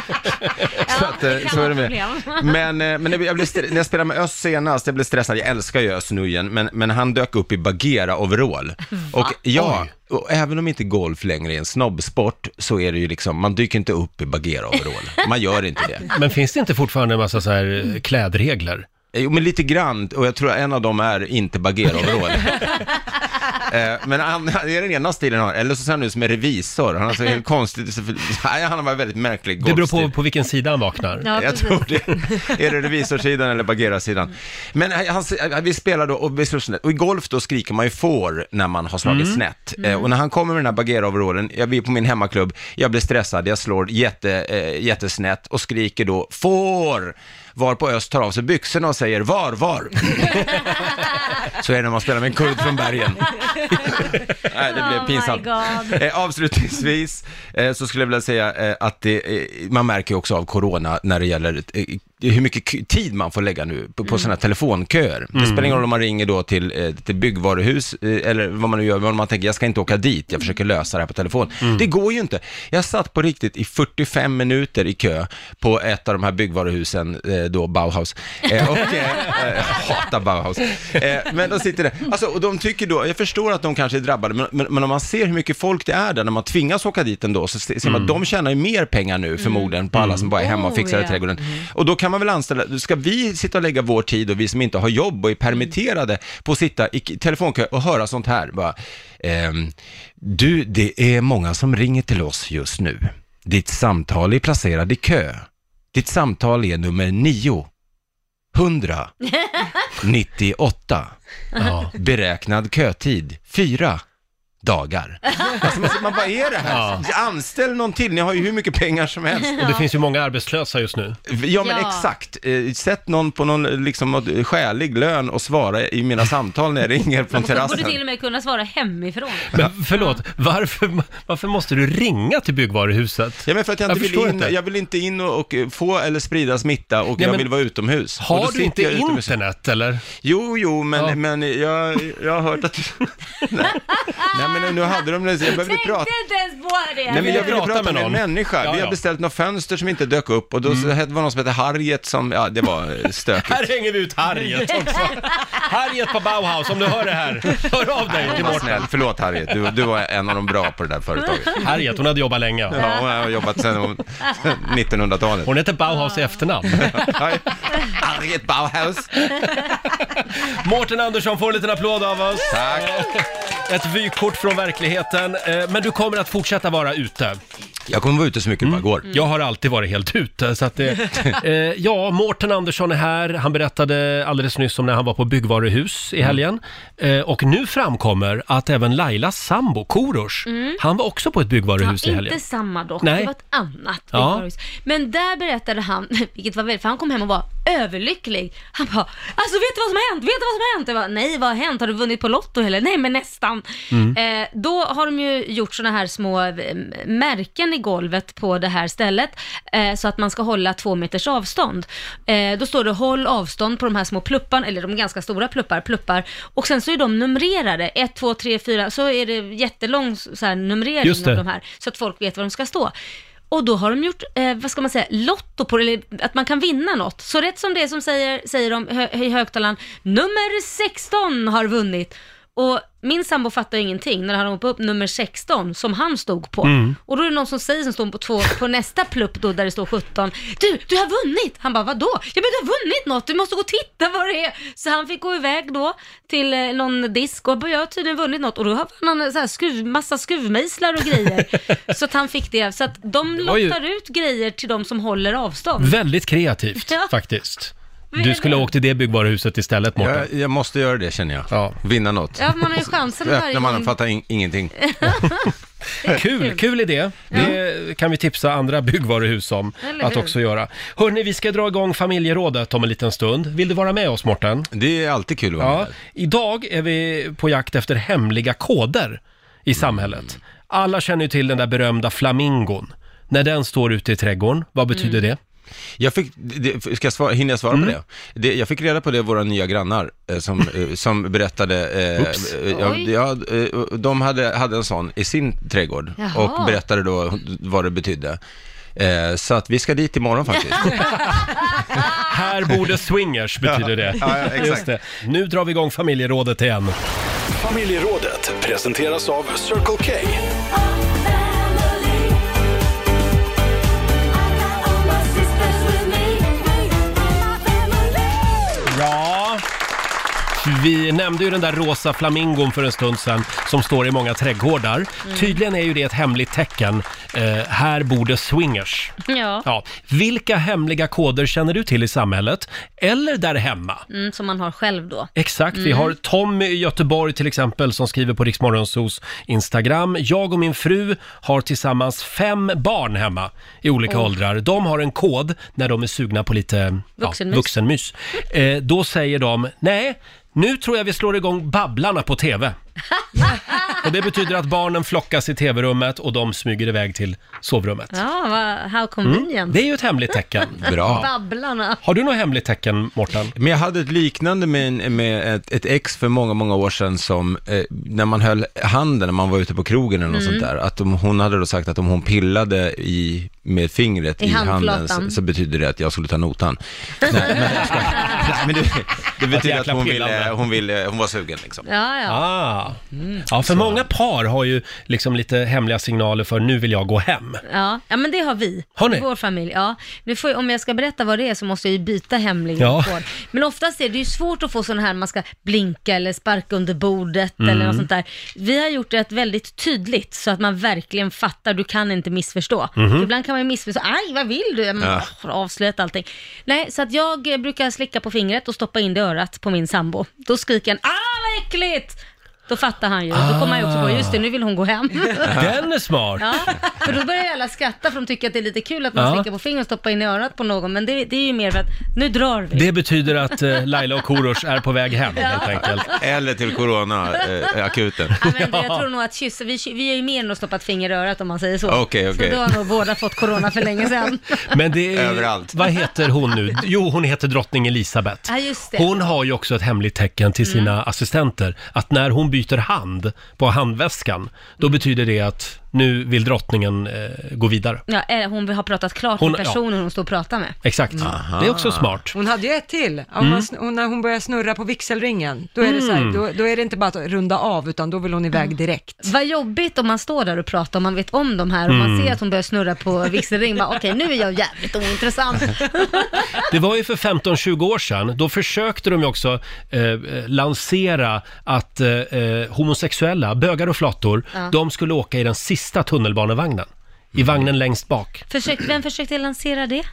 S10: (laughs) så, att, eh, så är det med.
S5: problem.
S10: Men, eh, men jag blev stre- när jag spelade med Özz senast, jag blev stressad, jag älskar ju Özz Nujen, men, men han dök upp i Bagheera-overall. Och ja, och även om inte golf längre är en snobbsport, så är det ju liksom, man dyker inte upp i Bagheera-overall. Man gör inte det.
S1: Men finns det inte fortfarande en massa så här eh, klädregler?
S10: Jo, men lite grann, och jag tror en av dem är inte Bagheera-overall. Eh, Men han, det är den ena stilen han har, eller så ser han ut som en revisor. Han har så helt konstigt, nej, han har en väldigt märklig
S1: Det beror på,
S10: golfstil.
S1: på vilken sida han vaknar.
S10: Ja, (laughs) jag tror det. Är det revisorsidan eller Bagheera-sidan? Men eh, han, han- vi spelar då och vi slår snett. Och i golf då skriker man ju får när man har slagit
S5: Mm.
S10: snett. Eh,
S5: Mm.
S10: Och när han kommer med den här Bagheera-overallen, jag blir på min hemmaklubb, jag blir stressad, jag slår jätte, eh, jättesnett och skriker då får! Varpå Öst tar av sig byxorna och säger var, var? Så är det när man spelar med en kurd från bergen. (laughs) Nej, det blev pinsamt.
S5: God.
S10: Eh, avslutningsvis eh, så skulle jag vilja säga eh, att det, eh, man märker ju också av corona när det gäller eh, hur mycket k- tid man får lägga nu på, på
S5: Mm.
S10: sådana här telefonköer. Det
S5: Mm.
S10: spelar ingen roll om man ringer då till, eh, till byggvaruhus eh, eller vad man nu gör, men om man tänker jag ska inte åka dit, jag försöker lösa det här på telefon. Det går ju inte. Jag satt på riktigt i 45 minuter i kö på ett av de här byggvaruhusen, eh, då Bauhaus. Eh, och, eh, eh, hatar Bauhaus. Eh, men de sitter där. Alltså, och de tycker då, jag förstår att de kanske är drabbade, men, men, men om man ser hur mycket folk det är där, när man tvingas åka dit ändå, så se- ser man att de tjänar ju mer pengar nu förmodligen på alla som bara är hemma och fixar i
S5: ja.
S10: trädgården. Och då kan man väl anställa, ska vi sitta och lägga vår tid och vi som inte har jobb och är permitterade på att sitta i k- telefonkö och höra sånt här, bara, ehm, du, det är många som ringer till oss just nu. Ditt samtal är placerad i kö. Ditt samtal är nummer 9. 100. 98.
S5: Ja.
S10: Beräknad kötid 4 dagar. Alltså, man- man bara, är det här? Anställ någon till, ni har ju hur mycket pengar som helst.
S1: Och det finns ju många arbetslösa just nu.
S10: Ja men
S1: Ja.
S10: exakt, Eh, sätt någon på någon liksom, något skälig lön och svara i mina samtal när jag ringer från
S2: Man (laughs) borde till
S10: terrassen.
S2: och med kunna svara hemifrån.
S1: Men förlåt, varför, varför måste du ringa till byggvaruhuset?
S10: Ja men för att jag inte
S1: förstår
S10: vill in,
S1: inte.
S10: jag vill inte in och, och eh, få eller sprida smitta och
S1: Ja,
S10: jag
S1: men
S10: vill vara utomhus. Och då
S1: Har du
S10: sitter
S1: inte
S10: jag utomhus.
S1: internet eller?
S10: Jo, jo, men, men jag, jag har hört att... (laughs) Nej. Nej, men nu hade de det. Jag behöver inte prata.
S2: inte ens på det!
S10: Nej, men jag ville prata med, en människa.
S1: Ja,
S10: Vi
S1: ja. Mm.
S10: har beställt några fönster som inte dök upp och då så- det var någon som hette Harriet som, ja det var eh, stökigt.
S1: Här hänger vi ut Harriet också. (laughs) Harriet på Bauhaus, om du hör det här, hör av dig
S10: Nej,
S1: till
S10: var
S1: Mårten.
S10: snäll. Förlåt Harriet, du, du var en av de bra på det där företaget.
S1: Harriet, hon hade jobbat länge.
S10: Ja, hon har jobbat sedan hon- sedan 1900-talet.
S1: Hon heter Bauhaus i efternamn.
S10: Harriet Bauhaus.
S1: Mårten Andersson får en liten applåd av oss.
S10: Tack.
S1: Ett vykort från verkligheten. Eh, Men du kommer att fortsätta vara ute.
S10: Jag kommer vara ute så mycket det bara går.
S2: Mm.
S1: Jag har alltid varit helt ute, så att det...
S2: (laughs)
S1: eh, ja, Mårten Andersson är här. Han berättade alldeles nyss om när han var på byggvaruhus
S2: Mm.
S1: i helgen. Eh, och nu framkommer att även Lailas sambo, Korosh,
S2: Mm.
S1: han var också på ett byggvaruhus
S2: ja,
S1: i helgen.
S2: Inte samma dock,
S1: Nej.
S2: det var ett annat
S1: Ja.
S2: (laughs) byggvaruhus. Men där berättade han, vilket var väldigt, för han kom hem och var överlycklig. Han bara, alltså vet du vad som har hänt? Vet du vad som har hänt? Jag bara, nej vad har hänt? Har du vunnit på Lotto eller? Nej men nästan.
S5: Mm.
S2: Eh, då har de ju gjort sådana här små eh, märken i golvet på det här stället eh, så att man ska hålla två meters avstånd. Eh, då står det håll avstånd på de här små plupparna, eller de ganska stora pluppar, pluppar. Och sen så är de numrerade, 1, 2, 3, 4, så är det jättelång så här, numrering
S5: Just det.
S2: av de här så att folk vet var de ska stå. Och då har de gjort, eh, vad ska man säga, lotto på det, eller att man kan vinna något. Så rätt som det är som säger, säger de hö, i högtalaren, nummer 16 har vunnit. Och min sambo fattar ju ingenting när han ropade upp nummer 16 som han stod på.
S5: Mm.
S2: Och då är det någon som säger som står på, två, på nästa plupp då där det står 17. Du, du har vunnit! Han bara, vadå? Ja men du har vunnit något, du måste gå och titta vad det är. Så han fick gå iväg då till eh, någon disk och bara, jag har tydligen vunnit något. Och då har han så här skruv, massa skruvmejslar och grejer. så att han fick det. Så att de
S1: var ju-
S2: lottar ut grejer till de som håller avstånd.
S1: Väldigt kreativt
S2: Ja.
S1: faktiskt. Du
S2: Väldigt.
S1: skulle ha åkt till det byggvaruhuset istället, Mårten.
S10: Jag, jag måste göra det känner jag. Vinna något.
S2: Ja, man har ju chansen varje
S10: Öppnar
S2: gång.
S10: man fattar in, ingenting.
S1: Kul, kul idé. Det kan vi tipsa andra byggvaruhus om
S2: Eller
S1: att
S2: hur?
S1: också göra. Hörni, vi ska dra igång familjerådet om en liten stund. Vill du vara med oss, Morten?
S10: Det är alltid kul att vara
S1: ja. med. Idag är vi på jakt efter hemliga koder
S10: Mm.
S1: i samhället. Alla känner ju till den där berömda flamingon. När den står ute i trädgården, vad betyder
S10: Mm.
S1: det?
S10: Jag fick, det, ska jag svara, hinner jag svara
S1: Mm.
S10: på det? det? Jag fick reda på det av våra nya grannar eh, som, eh, som berättade,
S1: Oops.
S10: eh, eh, ja,
S1: Oj.
S10: ja, eh, de hade, hade en sån i sin trädgård
S1: Jaha.
S10: och berättade då vad det betydde. Eh, så att vi ska dit imorgon faktiskt.
S2: (laughs)
S1: Här borde swingers, betyder det.
S10: (laughs) Ja, ja, exakt.
S1: Just det. Nu drar vi igång familjerådet igen.
S11: Familjerådet presenteras av Circle K.
S1: Ja. Vi nämnde ju den där rosa flamingon för en stund sedan som står i många trädgårdar. Tydligen är ju det ett hemligt tecken. Eh, här borde swingers.
S2: Ja.
S1: Ja. Vilka hemliga koder känner du till i samhället? Eller där hemma?
S2: Mm, som man har själv då.
S1: Exakt, vi
S2: Mm.
S1: har Tommy i Göteborg till exempel som skriver på Riksmorgonsos Instagram. Jag och min fru har tillsammans fem barn hemma i olika
S5: Oj.
S1: åldrar. De har en kod när de är sugna på lite
S5: Vuxenmys.
S1: Ja, vuxenmys. Eh, då säger de, nej, nu tror jag vi slår igång Babblarna på TV. och det betyder att barnen flockas i TV-rummet och de smyger iväg till sovrummet.
S2: Ja, vad, how convenient.
S1: Mm. Det är ju ett hemligt tecken.
S2: Babblarna.
S1: Har du något hemligt tecken, Morten?
S10: Men jag hade ett liknande med, en- med ett, ett ex för många, många år sedan som, eh, när man höll handen när man var ute på krogen eller något
S2: Mm.
S10: sånt där, att om, hon hade då sagt att om hon pillade i, med fingret
S2: I
S10: i, handen
S2: handflatan.
S10: så, så betyder det att jag skulle ta notan. Nej, men, jag skojar. Nej, men det, det betyder att,
S1: jäkla
S10: hon, eh,
S1: pillande.
S10: ville, hon, ville, hon var sugen liksom.
S2: Ja, ja.
S1: Ah. Ja, för många par har ju liksom lite hemliga signaler för nu vill jag gå hem.
S2: Ja, ja men det har vi.
S1: Har ni?
S2: I vår familj. Ja. Nu får, jag- om jag ska berätta vad det är så måste jag ju byta hemlig
S1: Ja.
S2: kod. Men oftast är det ju svårt att få sådana här, man ska blinka eller sparka under bordet
S5: Mm.
S2: eller något sånt där. Vi har gjort det väldigt tydligt så att man verkligen fattar, du kan inte missförstå.
S5: Mhm.
S2: För Ibland kan man ju missförstå, aj vad vill du? Man
S5: Ja.
S2: har avslöjat allting. Nej, så att jag eh, brukar slicka på fingret och stoppa in det i örat på min sambo. Då skriker han, ah vad äckligt! Då fattar han ju. Då kommer han ju också på,
S1: Ah.
S2: just det, nu vill hon gå hem.
S1: (laughs) Den är smart!
S2: Ja, för då börjar ju alla skratta för de tycker att det är lite kul att man
S1: Ja.
S2: slickar på fingret och stoppar in i örat på någon. Men det, det är ju mer för att nu drar vi.
S1: Det betyder att eh, Laila och Korosh är på väg hem
S2: Ja.
S1: helt enkelt.
S10: Eller till eh, corona-akuten.
S2: Ja, men det, jag tror nog att kyssa, vi, vi är ju mer än att stoppa ett finger i örat om man säger så.
S1: Ah, Okej, okej.
S2: Så då har nog båda fått corona för länge
S1: (laughs)
S2: sedan.
S1: Men det är, Överallt. Vad heter hon nu? Jo, hon heter drottning Elisabeth.
S2: Ja, just det. Mm.
S1: Hon har ju också ett hemligt tecken till sina assistenter att när hon byter hand på handväskan, då betyder det att nu vill drottningen eh, gå vidare.
S2: Ja, eller hon har pratat klart
S1: Hon-
S2: med personen hon står och pratar med.
S1: Exakt, det är också smart.
S3: Hon hade ju ett till. Om
S1: Mm.
S3: man sn- hon, när hon börjar snurra på vigselringen, då är, det så här,
S1: Mm.
S3: då, då är det inte bara att runda av, utan då vill hon iväg
S2: Mm.
S3: direkt.
S2: Vad jobbigt om man står där och pratar och man vet om de här och man
S1: Mm.
S2: ser att hon börjar snurra på vigselring. Bara, Okej, nu är jag
S1: (laughs)
S2: jävligt ointressant.
S1: Det var ju för 15-20 år sedan, då försökte de ju också eh, eh, lansera att eh, eh, homosexuella, bögar och flator,
S2: Ja.
S1: de skulle åka i den sista tunnelbanevagnen. I vagnen längst bak.
S2: Försök, vem försökte lansera det?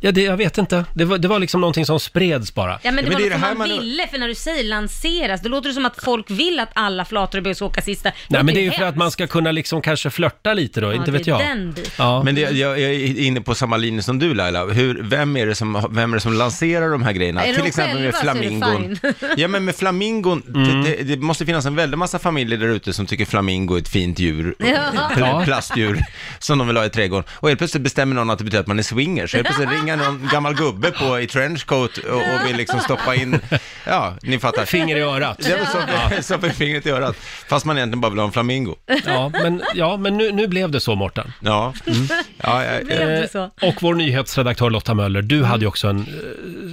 S1: Ja, det, jag vet inte. Det var, det var liksom någonting som spreds bara.
S2: Ja, men det var något som man ville, för när du säger lanseras, då låter det som att folk vill att alla flatorbuss ska åka sista.
S1: Nej, men det är ju
S2: hemskt.
S1: för att man ska kunna liksom kanske flörta lite då, inte
S2: det
S1: vet
S2: är
S1: jag.
S2: den biten.
S1: Ja.
S10: Men det, jag, jag är inne på samma linje som du Laila. Hur, vem, är det som, vem är det som lanserar de här grejerna?
S2: Är det
S10: Till
S2: de
S10: exempel med
S2: själva så är det
S10: flamingon.
S2: fine.
S10: (laughs) Ja men med flamingon, det, det, det måste finnas en väldig massa familjer där ute som tycker flamingo är ett fint djur,
S2: (laughs) Ja.
S10: pl- plastdjur, som de vill ha i trädgården. Och helt plötsligt bestämmer någon att det betyder att man är swinger. Så helt plötsligt ringer någon gammal gubbe på i trenchcoat och, och vill liksom stoppa in, ja ni fattar.
S1: Finger i örat.
S10: Ja, men som, som med fingret i örat. Fast man egentligen bara vill ha en flamingo.
S1: Ja, men, ja, men nu, nu blev det så, Mårten.
S10: Ja. Mm. ja, ja,
S2: Blev
S1: Eh,
S2: det så? Mm.
S1: och vår nyhetsredaktör Lotta Möller, du hade ju också en, eh,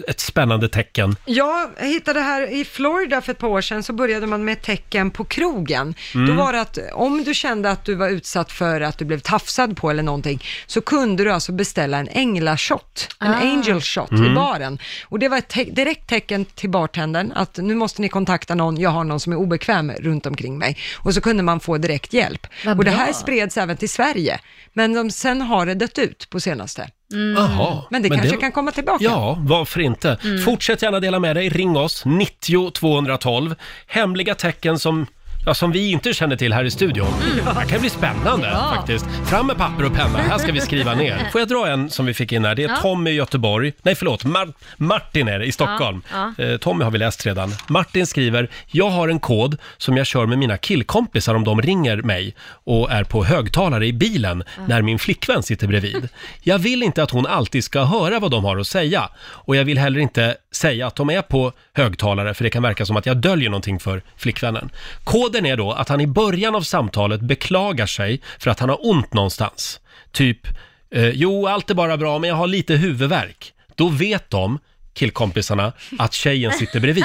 S1: ett spännande tecken.
S3: Jag hittade här i Florida för ett par år sedan så började man med tecken på krogen.
S1: Mm.
S3: Då var det att om du kände att du var utsatt för att du blev tafsad på eller någonting så kunde du alltså beställa en änglashot, en
S2: Ah.
S3: angel shot
S2: Mm.
S3: i baren. Och det var ett te- direkt tecken till bartendern att nu måste ni kontakta någon, jag har någon som är obekväm runt omkring mig. Och så kunde man få direkt hjälp.
S2: Vad
S3: och det
S2: bra.
S3: här spreds även till Sverige, men de, sen har det dött ut på senaste.
S2: Mm.
S1: Jaha.
S3: Men det kanske kan komma tillbaka.
S1: Ja, varför inte?
S3: Mm.
S1: Fortsätt gärna dela med dig. Ring oss, 90 212. Hemliga tecken som, ja, som vi inte känner till här i studion. Det här kan bli spännande
S2: Mm. Ja.
S1: faktiskt. Fram med papper och penna, här ska vi skriva
S2: (laughs)
S1: ner. Får jag dra en som vi fick in här? Det är
S2: Ja.
S1: Tommy i Göteborg. Nej, förlåt. Mar- Martin är det, i Stockholm.
S2: Ja,
S1: Eh, Tommy har vi läst redan. Martin skriver, jag har en kod som jag kör med mina killkompisar om de ringer mig och är på högtalare i bilen när min flickvän sitter bredvid. Jag vill inte att hon alltid ska höra vad de har att säga och jag vill heller inte säga att de är på högtalare för det kan verka som att jag döljer någonting för flickvännen. Koden är då att han i början av samtalet beklagar sig för att han har ont någonstans. Typ, eh, jo allt är bara bra men jag har lite huvudvärk. Då vet de killkompisarna att tjejen sitter bredvid.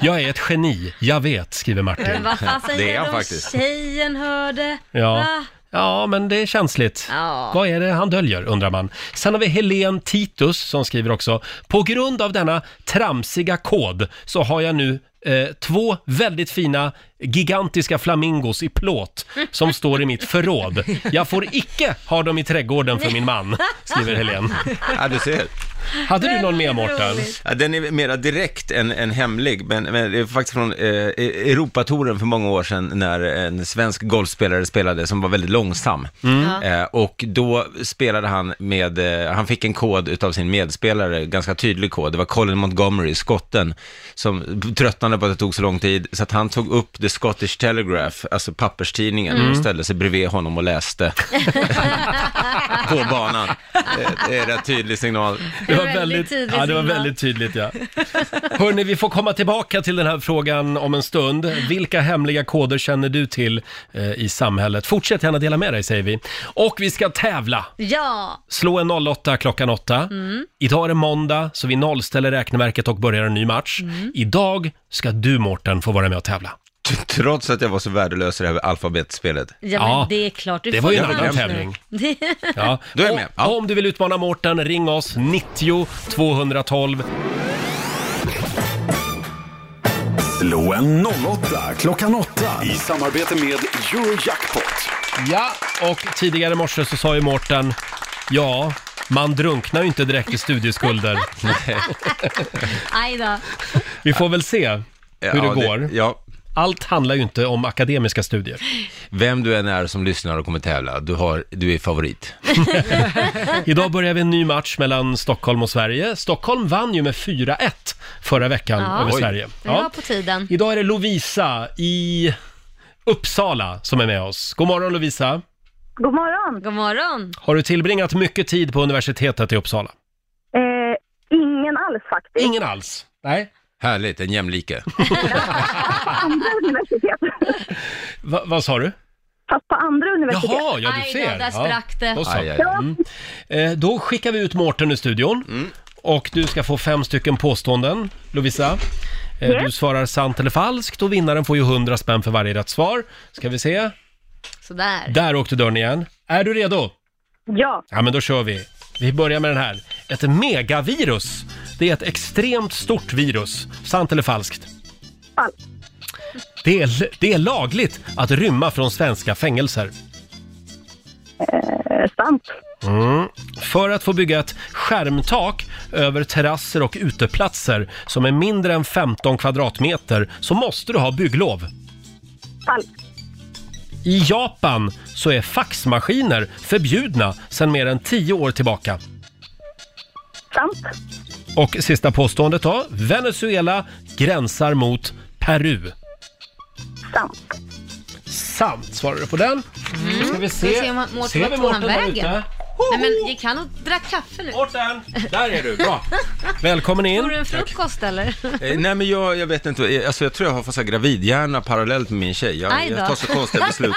S1: Jag är ett geni, jag vet, skriver
S2: Men
S1: Martin. (laughs)
S2: vad fan säger du om tjejen hörde?
S1: Ja.
S2: Va?
S1: ja, men det är känsligt.
S2: Ja.
S1: Vad är det han döljer, undrar man. Sen har vi Helen Titus som skriver också. På grund av denna tramsiga kod så har jag nu eh, två väldigt fina gigantiska flamingos i plåt som står i mitt förråd. Jag får icke ha dem i trädgården för min man, skriver Helen.
S10: Ja, du ser.
S1: Hade du någon mer, Mårten?
S10: Ja, den är mera direkt än, än hemlig, men, men det är faktiskt från eh, Europatouren för många år sedan när en svensk golfspelare spelade som var väldigt långsam.
S5: Mm.
S10: Eh, och då spelade han med, eh, han fick en kod utav sin medspelare, ganska tydlig kod. Det var Colin Montgomery, skotten, som tröttnade på att det tog så lång tid, så att han tog upp The Scottish Telegraph, alltså papperstidningen,
S5: Mm.
S10: och ställde sig bredvid honom
S5: (laughs)
S10: och läste (laughs) på banan. Eh, Det är en rätt tydlig signal.
S1: Det
S2: (laughs)
S1: var väldigt,
S2: tydlig
S1: ja, det var
S2: signal.
S1: väldigt tydligt
S2: (laughs)
S1: ja. Hörni, vi får komma tillbaka till den här frågan om en stund. Vilka hemliga koder känner du till eh, i samhället? Fortsätt gärna dela med dig säger vi. Och vi ska tävla!
S2: Ja.
S1: Slå en 08 klockan 8.
S2: Mm.
S1: Idag är det måndag, så vi nollställer räkneverket och börjar en ny match.
S2: Mm.
S1: Idag ska du, Mårten, få vara med och tävla.
S10: Trots att jag var så värdelös i det här alfabetspelet.
S2: Ja, men det är klart. Du
S1: det var
S2: får
S1: ju en
S2: allt
S1: annan
S2: nu.
S1: tävling.
S2: Det-
S1: Ja. Då är jag med. Om (laughs) du vill utmana Mårten, ring oss 90 212.
S11: Slå en 08 klockan 8 i samarbete med Eurojackpot.
S1: Ja, och tidigare i morse så sa ju Mårten, ja, man drunknar ju inte direkt i
S2: (laughs)
S1: studieskulder.
S2: (laughs) Aj då.
S1: Vi får väl se hur
S10: Ja,
S1: det
S10: det-
S1: går.
S10: ja.
S1: Allt handlar ju inte om akademiska studier.
S10: Vem du än är som lyssnar och kommer tävla, du, har, du är favorit.
S1: Idag börjar vi en ny match mellan Stockholm och Sverige. Stockholm vann ju med 4-1 förra veckan
S2: Ja.
S1: över
S2: Oj.
S1: Sverige.
S2: Det var på tiden.
S1: Idag är det Lovisa i Uppsala som är med oss. God morgon Lovisa!
S12: God morgon.
S2: God morgon.
S1: Har du tillbringat mycket tid på universitetet i Uppsala?
S12: Eh, ingen alls faktiskt.
S1: Ingen alls? Nej.
S10: Härligt,
S12: (laughs)
S10: en jämlike.
S12: På andra universitet.
S1: Va, vad sa du?
S12: Fast på andra universitet.
S1: Jaha, ja du ser.
S2: där sprack det.
S1: Ja, då, så.
S2: Aj, aj, aj.
S1: Mm. Eh, då skickar vi ut Mårten ur studion. Och du ska få fem stycken påståenden, Lovisa. Eh,
S2: Yes.
S1: Du svarar sant eller falskt och vinnaren får ju 100 spänn för varje rätt svar. Ska vi se.
S2: Sådär.
S1: Där åkte dörren igen. Är du redo?
S12: Ja.
S1: Ja, men då kör vi. Vi börjar med den här. Ett megavirus. Det är ett extremt stort virus. Sant eller falskt?
S12: Falskt.
S1: Det är, det är lagligt att rymma från svenska fängelser.
S12: Eh, sant.
S1: Mm. för att få bygga ett skärmtak över terrasser och uteplatser som är mindre än 15 kvadratmeter så måste du ha bygglov.
S12: Falskt.
S1: I Japan så är faxmaskiner förbjudna sedan mer än 10 år tillbaka.
S12: Sant.
S1: Och sista påståendet då. Venezuela gränsar mot Peru.
S12: Sant.
S1: Sant svarar du på den. Då ska vi
S2: Mm. Ska vi se
S1: se.
S2: om han- Mårten,
S1: Ser vi
S2: vart tog han
S1: Mårten där
S2: vägen?
S1: ute?
S2: Nej men gick han och drack kaffe nu?
S1: Mårten! Där är du,
S2: (laughs)
S1: bra. Välkommen
S2: Tog du en frukost eller? (laughs)
S10: Eh, Nej men jag, jag vet inte, Eh, alltså jag tror jag har fått så här gravidhjärna parallellt med min tjej. Jag,
S2: Aj då.
S10: jag tar så
S12: (laughs)
S10: konstiga beslut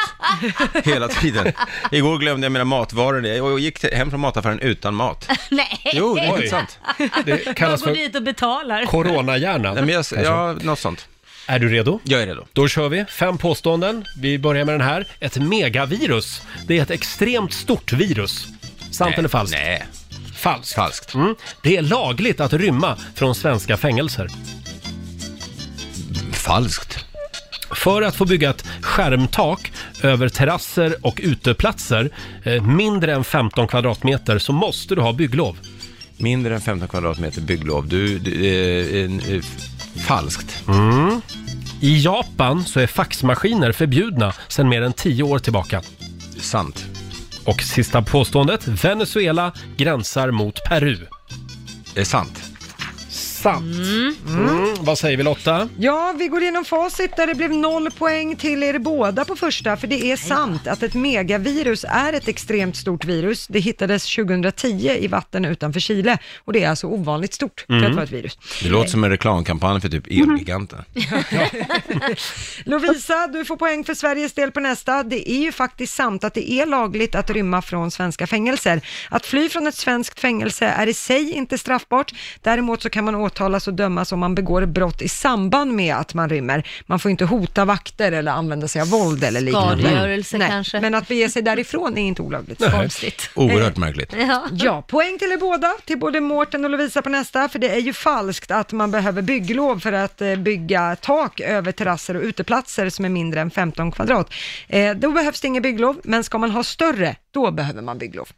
S10: hela tiden. Igår glömde jag mina matvaror, jag jag gick till- hem från mataffären
S12: (laughs)
S10: utan mat.
S2: Nej!
S10: Jo,
S2: (laughs)
S10: det är helt sant.
S1: Det
S2: Man går dit och betalar. (laughs)
S1: coronahjärna.
S10: Nej, men jag, ja, något sånt.
S1: Alltså, Är du redo?
S10: Jag är redo.
S1: Då kör vi. Fem påståenden. Vi börjar med den här. Ett megavirus. Det är ett extremt stort virus. Sant eller falskt?
S10: Nej.
S1: Falskt. falskt. Mm. Det är lagligt att rymma från svenska fängelser.
S10: Falskt.
S1: För att få bygga ett skärmtak över terrasser och uteplatser eh, mindre än 15 kvadratmeter så måste du ha bygglov.
S10: Mindre än 15 kvadratmeter bygglov, du, du eh, en, eh, falskt.
S1: Mm. I Japan så är faxmaskiner förbjudna sedan mer än 10 år tillbaka.
S10: Sant.
S1: Och sista påståendet. Venezuela gränsar mot Peru. Mm,
S10: Det är sant.
S1: Sant. Mm. Vad säger vi Lotta?
S3: Ja, vi går igenom facit där det blev noll poäng till er båda på första, för det är sant att ett megavirus är ett extremt stort virus. Det hittades 2010 i vatten utanför Chile och det är alltså ovanligt stort för att vara ett virus.
S10: Det låter som en reklamkampanj för typ Elgiganten.
S3: Lovisa, du får poäng för Sveriges del på nästa. Det är ju faktiskt sant att det är lagligt att rymma från svenska fängelser. Att fly från ett svenskt fängelse är i sig inte straffbart. Däremot så kan man åtalas och dömas om man begår brott i samband med att man rymmer. Man får inte hota vakter eller använda sig av våld eller liknande.
S2: Skadegörelse
S3: Nej,
S2: kanske.
S3: Men att bege sig därifrån är inte olagligt.
S10: Nej.
S2: Konstigt.
S10: Oerhört märkligt.
S2: Ja.
S3: Ja, poäng till er båda, till både Mårten och Lovisa på nästa, för det är ju falskt att man behöver bygglov för att eh, bygga tak över terrasser och uteplatser som är mindre än 15 kvadrat. Eh, Då behövs det inget bygglov, men ska man ha större, då behöver man bygglov.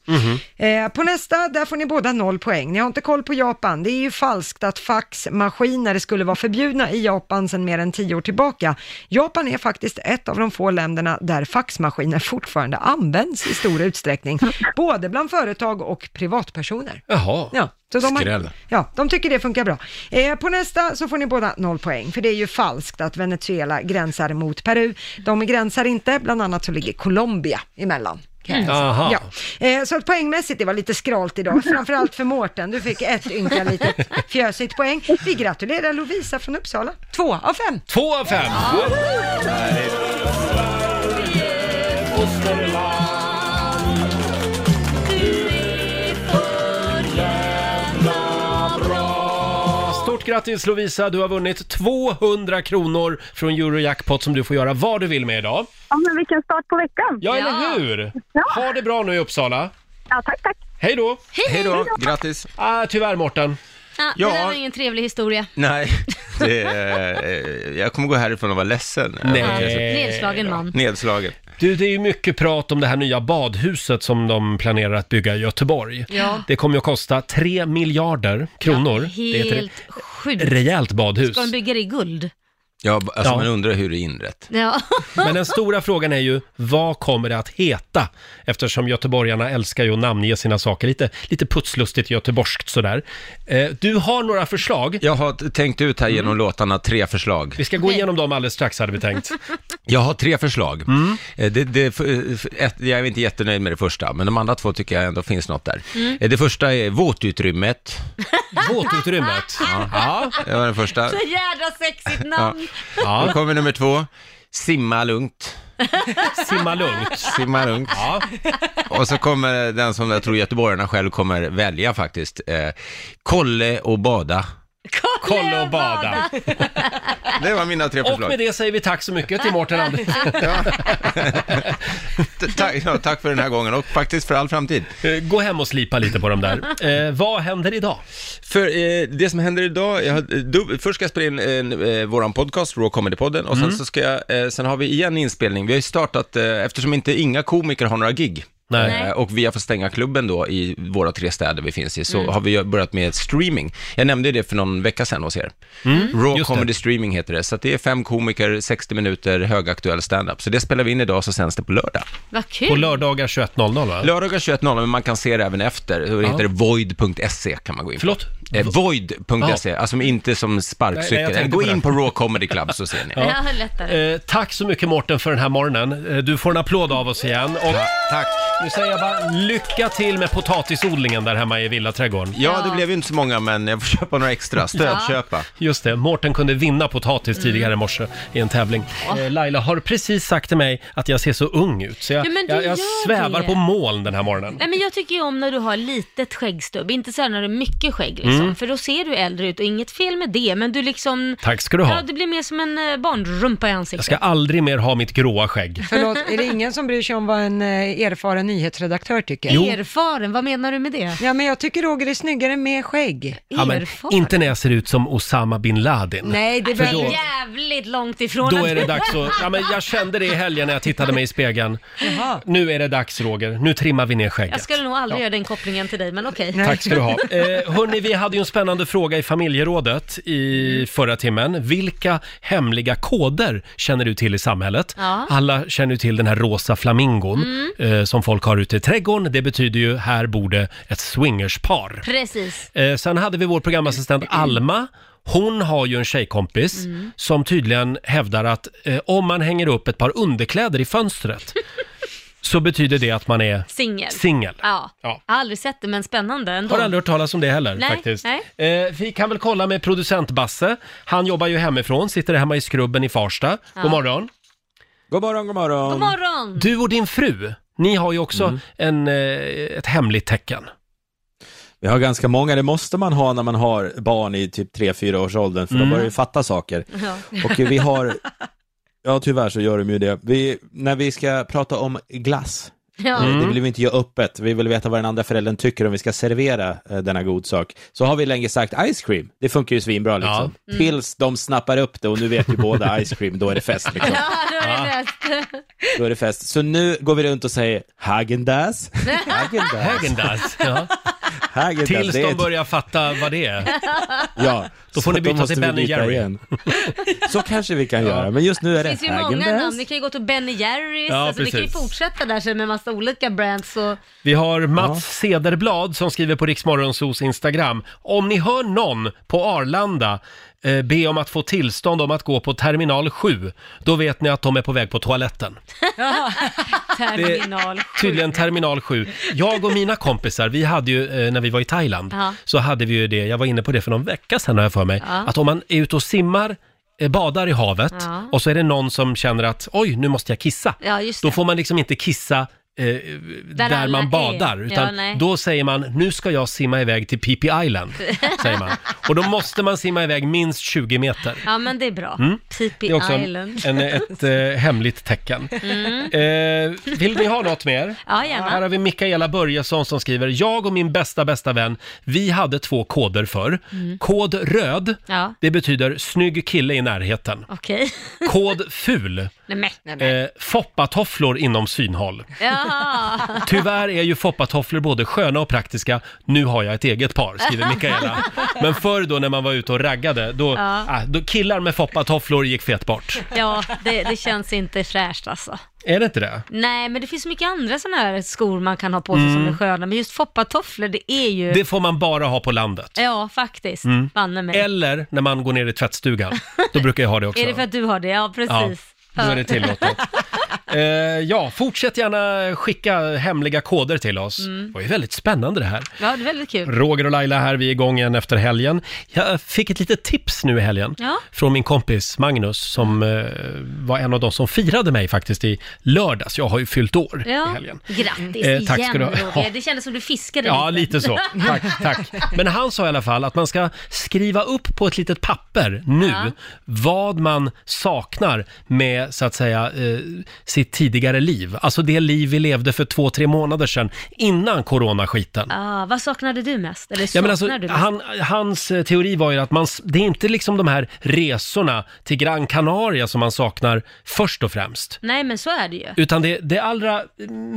S3: Eh, på nästa, där får ni båda noll poäng. Ni har inte koll på Japan. Det är ju falskt att faxmaskiner skulle vara förbjudna i Japan sedan mer än tio år tillbaka. Japan är faktiskt ett av de få länderna där faxmaskiner fortfarande används i stor utsträckning, både bland företag och privatpersoner.
S1: Jaha.
S3: Ja, så de,
S10: Skräll.
S3: har, ja, de tycker det funkar bra. Eh, på nästa så får ni båda noll poäng, för det är ju falskt att Venezuela gränsar mot Peru. De gränsar inte, bland annat så ligger Colombia emellan. kan jag
S1: Mm.
S3: säga.
S1: Aha.
S3: Ja. Eh, så att poängmässigt, det var lite
S1: (laughs)
S3: skralt idag, framförallt för Mårten. Du fick ett ynka litet fjösigt poäng. Vi gratulerar Lovisa från Uppsala. Två av fem.
S1: Två av fem! Stort grattis Lovisa, du har vunnit 200 kronor från Eurojackpot som du får göra vad du vill med idag.
S12: Ja, men vilken start på veckan.
S1: Ja, eller hur? Ha det bra nu i Uppsala.
S12: Ja, tack, tack.
S1: Hej då!
S10: Hej då, grattis.
S1: Ah, tyvärr Mårten.
S2: Ja,
S10: Ja.
S2: Det där var ingen trevlig historia.
S10: Nej, det, eh, jag kommer gå härifrån och vara ledsen.
S1: Eh,
S2: Nedslagen man.
S10: Nedslagen.
S1: Du, det är ju mycket prat om det här nya badhuset som de planerar att bygga i Göteborg.
S2: Ja.
S1: Det kommer ju att kosta 3 miljarder kronor. det är ett
S2: Helt sjukt.
S1: re- rejält badhus.
S2: Ska de bygga det i guld?
S10: Ja, alltså
S1: Ja.
S10: man undrar hur det är inrett.
S2: Ja. (laughs)
S1: Men den stora frågan är ju, vad kommer det att heta? Eftersom göteborgarna älskar ju att namnge sina saker. Lite, lite putslustigt göteborgskt sådär. Eh, du har några förslag.
S10: Jag har t- tänkt ut här genom låtarna tre förslag.
S1: Vi ska gå igenom dem alldeles strax hade vi
S2: (laughs)
S1: tänkt.
S10: Jag har tre förslag. Eh, Det, det, f- f- ett, jag är inte jättenöjd med det första, men de andra två tycker jag ändå finns något där.
S1: Mm.
S10: Eh, Det första
S1: (laughs)
S10: är våtutrymmet.
S1: Våtutrymmet.
S10: Ja, det var den första.
S2: Så jädra sexigt namn.
S1: Ja.
S10: Då kommer nummer två. Simma lugnt.
S1: Simma lugnt. (laughs)
S10: Simma lugnt.
S1: Ja.
S10: Och så kommer den som jag tror göteborgarna själv kommer välja faktiskt. Eh, kolle och bada.
S1: Kolla och bada.
S10: Det var mina tre
S1: Och
S10: förslag.
S1: med det säger vi tack så mycket till Mårten Andersson.
S10: T- tack- ja, tack för den här gången och faktiskt för all framtid.
S1: Eh, Gå hem och slipa lite på dem
S2: (laughs)
S1: där. Eh, vad händer idag?
S10: För eh, det som händer idag, jag har, du, först ska jag spela in eh, eh, våran podcast, Raw Comedy-podden,
S1: Mm.
S10: och sen, så ska jag, eh, sen har vi igen inspelning. Vi har ju startat, eh, eftersom inte inga komiker har några gig,
S1: Nej.
S10: Eh, Och vi har fått stänga klubben då i våra tre städer vi finns i, så
S1: Mm.
S10: har vi börjat med streaming. Jag nämnde ju det för någon vecka sedan hos er.
S1: Mm, just
S10: Raw
S1: det.
S10: Comedy Streaming heter det, så att det är fem komiker, 60 minuter högaktuell stand-up. Så det spelar vi in idag, så sänds det på lördag.
S2: Vad kul.
S1: På lördagar 21.00 va?
S10: Lördagar 21.00, men man kan se det även efter. Det
S1: Ja.
S10: heter det void.se kan man gå in på.
S1: Förlåt?
S10: Eh, void.se,
S1: Ja.
S10: alltså inte som
S1: Nej, nej, jag
S10: sparkcykel.
S1: tänkte
S10: gå
S1: på det.
S10: in på Raw Comedy Club
S1: (laughs)
S10: så ser ni.
S2: Ja. lättare.
S1: Eh, tack så mycket Mårten för den här morgonen. Eh, du får en applåd av oss igen. Och
S10: tack.
S1: Nu säger jag bara lycka till med potatisodlingen där hemma i villaträdgården.
S10: Ja, det blev ju inte så många, men jag får köpa några extra. Stödköpa.
S1: Just det, Mårten kunde vinna
S2: Mm.
S1: potatis tidigare i morse i en tävling. Eh, Laila har precis sagt till mig att jag ser så ung ut, så jag,
S2: Nej, men du
S1: jag, jag
S2: gör
S1: svävar
S2: det.
S1: på moln den här morgonen.
S2: Nej men jag tycker ju om när du har litet skäggstubb, inte så här när du har mycket skägg liksom.
S1: Mm.
S2: För då ser du äldre ut och inget fel med det, men du liksom...
S1: Tack ska du ha.
S2: Ja, du blir mer som en eh, barnrumpa i ansiktet.
S1: Jag ska aldrig mer ha mitt gråa skägg.
S3: Förlåt, är det ingen som bryr sig om vad en eh, erfaren nyhetsredaktör tycker?
S1: Jo.
S2: Erfaren, vad menar du med det?
S3: Ja, men jag tycker Roger är snyggare med skägg.
S1: Ja, men, inte när jag ser ut som Osama bin Laden.
S3: Nej, det är
S1: För
S3: väl-
S1: då,
S2: Jävligt långt ifrån
S1: då
S2: att-
S1: är det dags att... Ja, men jag kände det i helgen när jag tittade mig i spegeln.
S2: Jaha.
S1: Nu är det dags Roger, nu trimmar vi ner
S2: Jag
S1: skägget.
S2: skulle nog aldrig
S1: Ja.
S2: göra den kopplingen till dig, men okej.
S1: Tack ska du ha. Eh, hörni, vi hade ju en spännande fråga i familjerådet i förra timmen. Vilka hemliga koder känner du till i samhället?
S5: Ja.
S1: Alla känner ju till den här rosa flamingon
S2: Mm.
S1: eh, som folk har ute i trädgården. Det betyder ju, här bor det ett swingerspar.
S2: Precis.
S1: Eh, sen hade vi vår programassistent Alma. Hon har ju en tjejkompis
S2: Mm.
S1: som tydligen hävdar att eh, om man hänger upp ett par underkläder i
S2: (laughs)
S1: fönstret så betyder det att man är...
S2: Singel.
S1: Singel.
S2: Ja.
S1: Ja.
S2: Jag har aldrig sett det, men spännande ändå.
S1: Har aldrig hört talas om det heller
S2: Nej,
S1: faktiskt.
S2: nej.
S1: Eh, vi kan väl kolla med producent Basse. Han jobbar ju hemifrån, sitter hemma i skrubben i Farsta.
S2: Ja.
S1: God morgon.
S9: God morgon, god morgon.
S2: God morgon!
S1: Du och din fru, ni har ju också
S9: Mm.
S1: en, eh, ett hemligt tecken.
S9: Vi har ganska många, det måste man ha när man har barn i typ 3-4 års åldern, för
S1: Mm.
S9: de börjar ju fatta saker.
S2: Ja.
S9: Och vi har, ja tyvärr så gör de ju det. Vi, när vi ska prata om glass,
S2: Ja.
S1: Mm.
S9: eh, det vill vi inte göra öppet, vi vill veta vad den andra föräldern tycker om vi ska servera eh, denna god sak. Så har vi länge sagt ice cream, det funkar ju svinbra liksom.
S2: Mm.
S9: Tills de snappar upp det och nu vet ju båda ice cream, då är det fest liksom.
S2: Ja, då är det
S1: Ah.
S9: Ja.
S2: bäst.
S9: Då är det fest. Så nu går vi runt och säger Häagen-Dazs. (laughs)
S1: Häagen-Dazs, ja.
S9: Häagen-Dazs,
S1: Tills
S9: det är
S1: de
S9: ett-
S1: börjar fatta vad det
S9: (laughs)
S1: är.
S9: Ja,
S1: Då får
S9: så
S1: ni
S9: då
S1: byta
S9: måste
S1: till
S9: vi
S1: Ben
S9: byta
S1: Jerry.
S9: igen. Så kanske vi kan göra, men just nu
S2: Det
S9: är det
S2: finns ju många
S9: Häagen-Dazs.
S2: namn. Ni kan ju gå till Ben Jerrys.
S1: Ja,
S2: alltså, vi kan ju
S1: precis.
S2: fortsätta där sen med massa olika brands. Och...
S1: Vi har Mats Cederblad som skriver på Riksmorgonsos Instagram. Om ni hör någon på Arlanda eh, be om att få tillstånd om att gå på terminal 7, då vet ni att de är på väg på toaletten.
S2: (laughs) Terminal
S1: Tydligen terminal 7. Jag och mina kompisar, vi hade ju eh, när vi var i Thailand,
S2: Ja.
S1: så hade vi ju det, jag var inne på det för någon vecka sedan har jag för mig,
S2: Ja.
S1: att om man är ute och simmar, eh, badar i havet
S2: Ja.
S1: och så är det någon som känner att oj, nu måste jag kissa.
S2: Ja, just
S1: Då
S2: det.
S1: får man liksom inte kissa eh, där,
S2: alla
S1: man
S2: är.
S1: badar,
S2: Ja,
S1: utan
S2: nej.
S1: då säger man nu ska jag simma iväg till Phi Phi
S2: (laughs)
S1: Island, säger man. Och då måste man simma iväg minst 20 meter.
S2: Ja, men det är bra.
S1: Mm. Det
S2: Pippi
S1: är också en,
S2: Island.
S1: en, ett eh, hemligt tecken.
S2: Mm.
S1: Eh, vill ni ha något mer?
S2: (laughs) Ja, gärna.
S1: Här har vi Mikaela Börjesson som skriver, jag och min bästa, bästa vän, vi hade två koder för.
S2: Mm.
S1: Kod röd,
S2: Ja,
S1: det betyder snygg kille i
S2: (laughs)
S1: närheten.
S2: okej.
S1: Kod ful,
S2: Nej, men. Nej, men.
S1: eh, foppatofflor inom synhåll.
S2: Jaha.
S1: Tyvärr är ju foppatofflor både sköna och praktiska. Nu har jag ett eget par,
S2: (laughs)
S1: skriver Mikaela. Men förr då när man var ute och raggade, då,
S2: Ja.
S1: ah, då killar med foppatofflor gick fetbart.
S2: Ja, det, det känns inte fräscht alltså.
S1: Är det inte det?
S2: Nej, men det finns mycket andra sådana här skor man kan ha på sig som
S1: Mm.
S2: är sköna, men just foppatofflor, det är ju...
S1: Det får man bara ha på landet.
S2: Ja, faktiskt.
S1: Mm.
S2: Banne mig.
S1: Eller när man går ner i tvättstugan. Då brukar jag ha det också.
S2: (laughs) Är det för att du har det? Ja, precis.
S1: Ja, då är det
S2: (laughs)
S1: tillåtet. Eh, ja, fortsätt gärna skicka hemliga koder till oss.
S2: Mm.
S1: Det var ju väldigt spännande det här.
S2: Ja, det är väldigt kul.
S1: Roger och Laila här, vi är igång igen efter helgen. Jag fick ett litet tips nu i helgen
S2: Ja.
S1: från min kompis Magnus som eh, var en av de som firade mig faktiskt i lördags. Jag har ju fyllt år i
S2: Ja.
S1: helgen.
S2: Grattis
S1: Eh, tack
S2: igen
S1: ska du ha.
S2: Roger. Det kändes som du fiskade
S1: Ja, lite så. Tack, tack. Men han sa i alla fall att man ska skriva upp på ett litet papper nu
S2: Ja.
S1: vad man saknar med så att säga eh, sitt tidigare liv. Alltså det liv vi levde för två, tre månader sedan innan coronaskiten.
S2: Ah, vad saknade du mest? Eller
S1: Ja,
S2: saknar
S1: men alltså,
S2: du mest?
S1: han, hans eh, teori var ju att man, s- det är inte liksom de här resorna till Gran Canaria som man saknar först och främst.
S2: Nej, men så är det ju.
S1: Utan det, det allra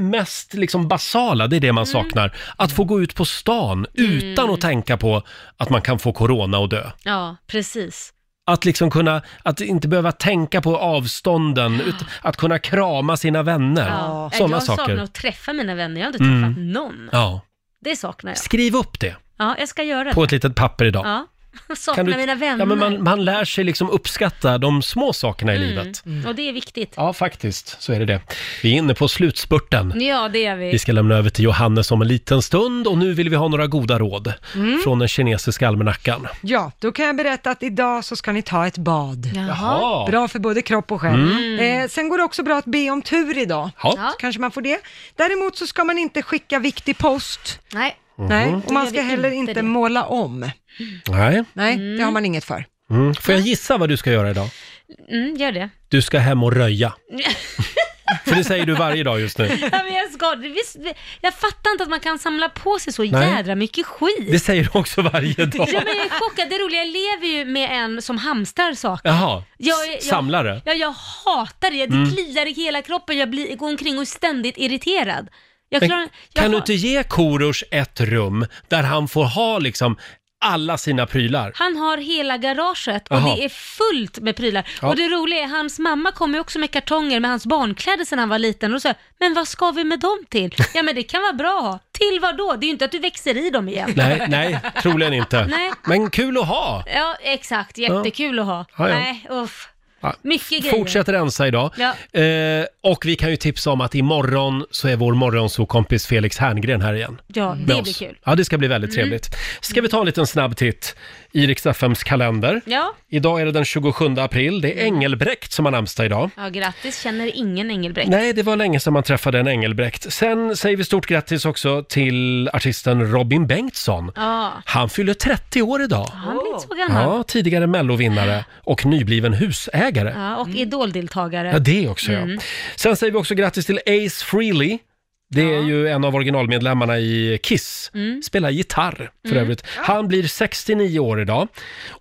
S1: mest liksom basala, det är det man saknar. Att få gå ut på stan utan
S2: Mm.
S1: att tänka på att man kan få corona och dö.
S2: Ja, precis.
S1: Att liksom kunna, att inte behöva tänka på avstånden, ut, att kunna krama sina vänner.
S2: Ja.
S1: Sådana
S2: jag saknar
S1: saker.
S2: att träffa mina vänner. Jag har inte
S1: Mm.
S2: träffat någon.
S1: Ja.
S2: Det saknar jag.
S1: Skriv upp det
S2: Ja, jag ska göra
S1: på
S2: det.
S1: ett litet papper idag.
S2: Ja. (laughs) Saknar
S1: Kan du-
S2: mina vänner.
S1: Ja, men man, man lär sig liksom uppskatta de små sakerna i
S2: Mm.
S1: livet.
S2: Och det är viktigt.
S1: Ja, faktiskt så är det det. Vi är inne på slutspurten.
S2: Ja, det är vi.
S1: Vi ska lämna över till Johannes om en liten stund och nu vill vi ha några goda råd
S3: Mm.
S1: från den kinesiska almanackan.
S3: Ja, då kan jag berätta att idag så ska ni ta ett bad.
S1: Jaha.
S3: Bra för både kropp och själ.
S1: Mm.
S3: Eh, sen går det också bra att be om tur idag.
S1: Ja.
S3: Så kanske man får det. Däremot så ska man inte skicka viktig post.
S2: Nej.
S3: Nej,
S1: Mhm.
S3: och man
S2: Då
S3: ska
S2: gör vi
S3: heller
S2: inte
S3: inte
S2: det.
S3: måla om.
S1: Nej.
S3: Nej, det har man inget för.
S1: Mm. Får jag gissa vad du ska göra idag?
S2: Mm, gör det. (laughs)
S1: Du ska hem och röja. För det säger du varje dag just nu.
S2: ja, men jag, ska, visst, jag fattar inte att man kan samla på sig så
S1: Nej.
S2: jädra mycket skit.
S1: Det säger du också varje dag.
S2: Ja, men jag är chockad. Det roliga, jag lever ju med en som hamstrar saker.
S1: Jaha,
S2: Jag är- jag-
S1: samlare.
S2: Ja, jag hatar det. Det
S1: Mm.
S2: kliar i hela kroppen. Jag blir, går omkring och är ständigt irriterad. Jag
S1: Men
S2: klarar, jag
S1: Kan du
S2: har-
S1: inte ge Korosh ett rum där han får ha liksom alla sina prylar?
S2: Han har hela garaget och
S1: Jaha.
S2: det är fullt med prylar.
S1: Ja.
S2: Och det roliga är, hans mamma kom ju också med kartonger med hans barnkläder sedan han var liten och sa men vad ska vi med dem
S1: (laughs)
S2: till? Ja men det kan vara bra att ha. Till vad då? Det är ju inte att du växer i dem igen. (laughs)
S1: Nej, nej, troligen inte.
S2: Nej.
S1: Men kul att ha!
S2: Ja, exakt. Jättekul att ha.
S1: Ja, ja.
S2: Nej, uff.
S1: Ja,
S2: Mycket grejer.
S1: Fortsätt rensa idag.
S2: Ja.
S1: Eh, och vi kan ju tipsa om att imorgon så är vår morgonsokompis Felix Herngren här igen.
S2: Ja,
S1: Med
S2: det blir
S1: oss.
S2: kul.
S1: Ja, det ska bli väldigt
S2: Mm.
S1: trevligt. Ska vi ta en liten snabb titt i Rix FMs kalender?
S2: Ja. Mm.
S1: Idag är det den 27 april. Det är Engelbrekt som har namnsdag idag.
S2: Ja, grattis känner ingen Engelbrekt.
S1: Nej, det var länge sedan man träffade en Engelbrekt. Sen säger vi stort grattis också till artisten Robin Bengtsson.
S2: Ja,
S1: Han fyller 30 år idag.
S2: han blir inte så gammal.
S1: Ja, tidigare mellovinnare och nybliven husägare.
S2: Ja, och idoldeltagare.
S1: Ja, det också
S2: Mm.
S1: ja. Sen säger vi också grattis till Ace Frehley. Det är ju en av originalmedlemmarna i Kiss.
S2: Mm.
S1: Spelar gitarr för
S2: Mm.
S1: övrigt. Han blir 69 år idag.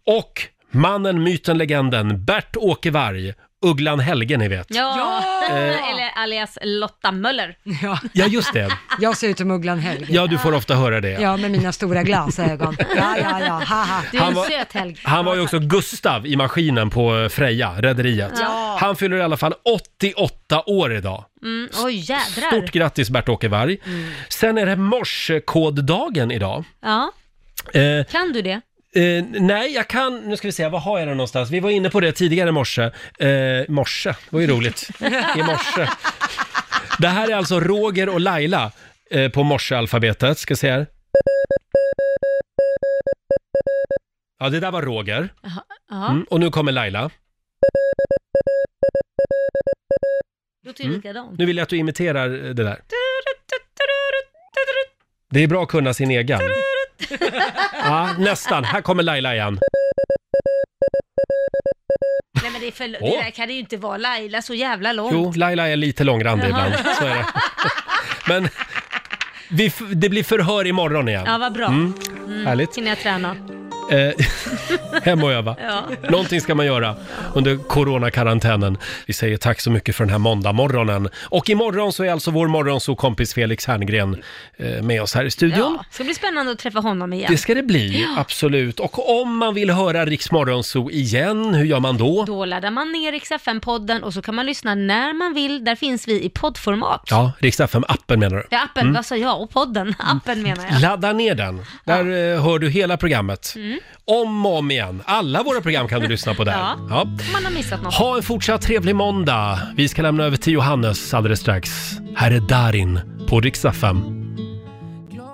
S1: Och mannen, myten, legenden Bert-Åke Varg, Ugglan Helge ni vet.
S2: Ja,
S1: Eh.
S2: eller alias Lotta Möller.
S3: Ja.
S1: Ja, just det.
S3: Jag ser ut som Ugglan Helge.
S1: Ja, du får ofta höra det.
S3: Ja, med mina stora glasögon. Ja, ja, ja, haha.
S2: Du är
S1: Han
S2: en
S1: var-
S2: söt Helge.
S1: Han var ju också Gustav i Maskinen på eh, Freja, Rederiet.
S2: Ja.
S1: Han fyller i alla fall 88 år idag.
S2: Mm, oj, jädrar.
S1: Stort grattis Bert-Åke Varg.
S2: Mm.
S1: Sen är det morsekoddagen idag.
S2: Ja,
S1: Eh,
S2: kan du det?
S1: Eh, nej, jag kan... Nu ska vi se, vad har jag den någonstans? Vi var inne på det tidigare i morse. Eh, morse, det var ju roligt. I morse. Det här är alltså Roger och Laila eh, på morsealfabetet. Ska se här. Ja, det där var Roger.
S2: Ja,
S1: Mm, och nu kommer Laila.
S2: låter ju likadant.
S1: Nu vill jag att du imiterar eh, det där. Det är bra att kunna sin egen. Ja, nästan. Här kommer Laila igen.
S2: Nej men det, är för, det
S1: Åh.
S2: där kan det ju inte vara Laila så jävla långt.
S1: Jo, Laila är lite långrandig
S2: Jaha.
S1: ibland. Så är det. Men vi f- det blir förhör imorgon igen.
S2: Ja, vad bra.
S1: Mm.
S2: Mm,
S1: Härligt.
S2: Hinner jag träna?
S1: Eh, (laughs) hem och öva.
S2: Ja.
S1: Någonting ska man göra under coronakarantänen. Vi säger tack så mycket för den här måndagmorgonen. Och imorgon så är alltså vår morgonsokompis Felix Herngren eh, med oss här i studion.
S2: Ja, ska bli spännande att träffa honom igen.
S1: Det ska det bli, absolut. Och om man vill höra Riks Morgonzoo igen, hur gör man då?
S2: Då laddar man ner Rix FM-podden och så kan man lyssna när man vill. Där finns vi i poddformat.
S1: Ja, Riks FM-appen menar du?
S2: Ja, appen,
S1: Mm.
S2: vad sa jag? Och podden, (laughs) appen menar jag.
S1: Ladda ner den. Där eh, hör du hela programmet.
S2: Mm.
S1: Om och om igen. Alla våra program kan du
S2: (laughs)
S1: lyssna på där.
S2: Ja.
S1: Ja.
S2: Om Man har missat något.
S1: Ha en fortsatt trevlig måndag. Vi ska lämna över till Johannes alldeles strax. Här är Darin på Riksaffären.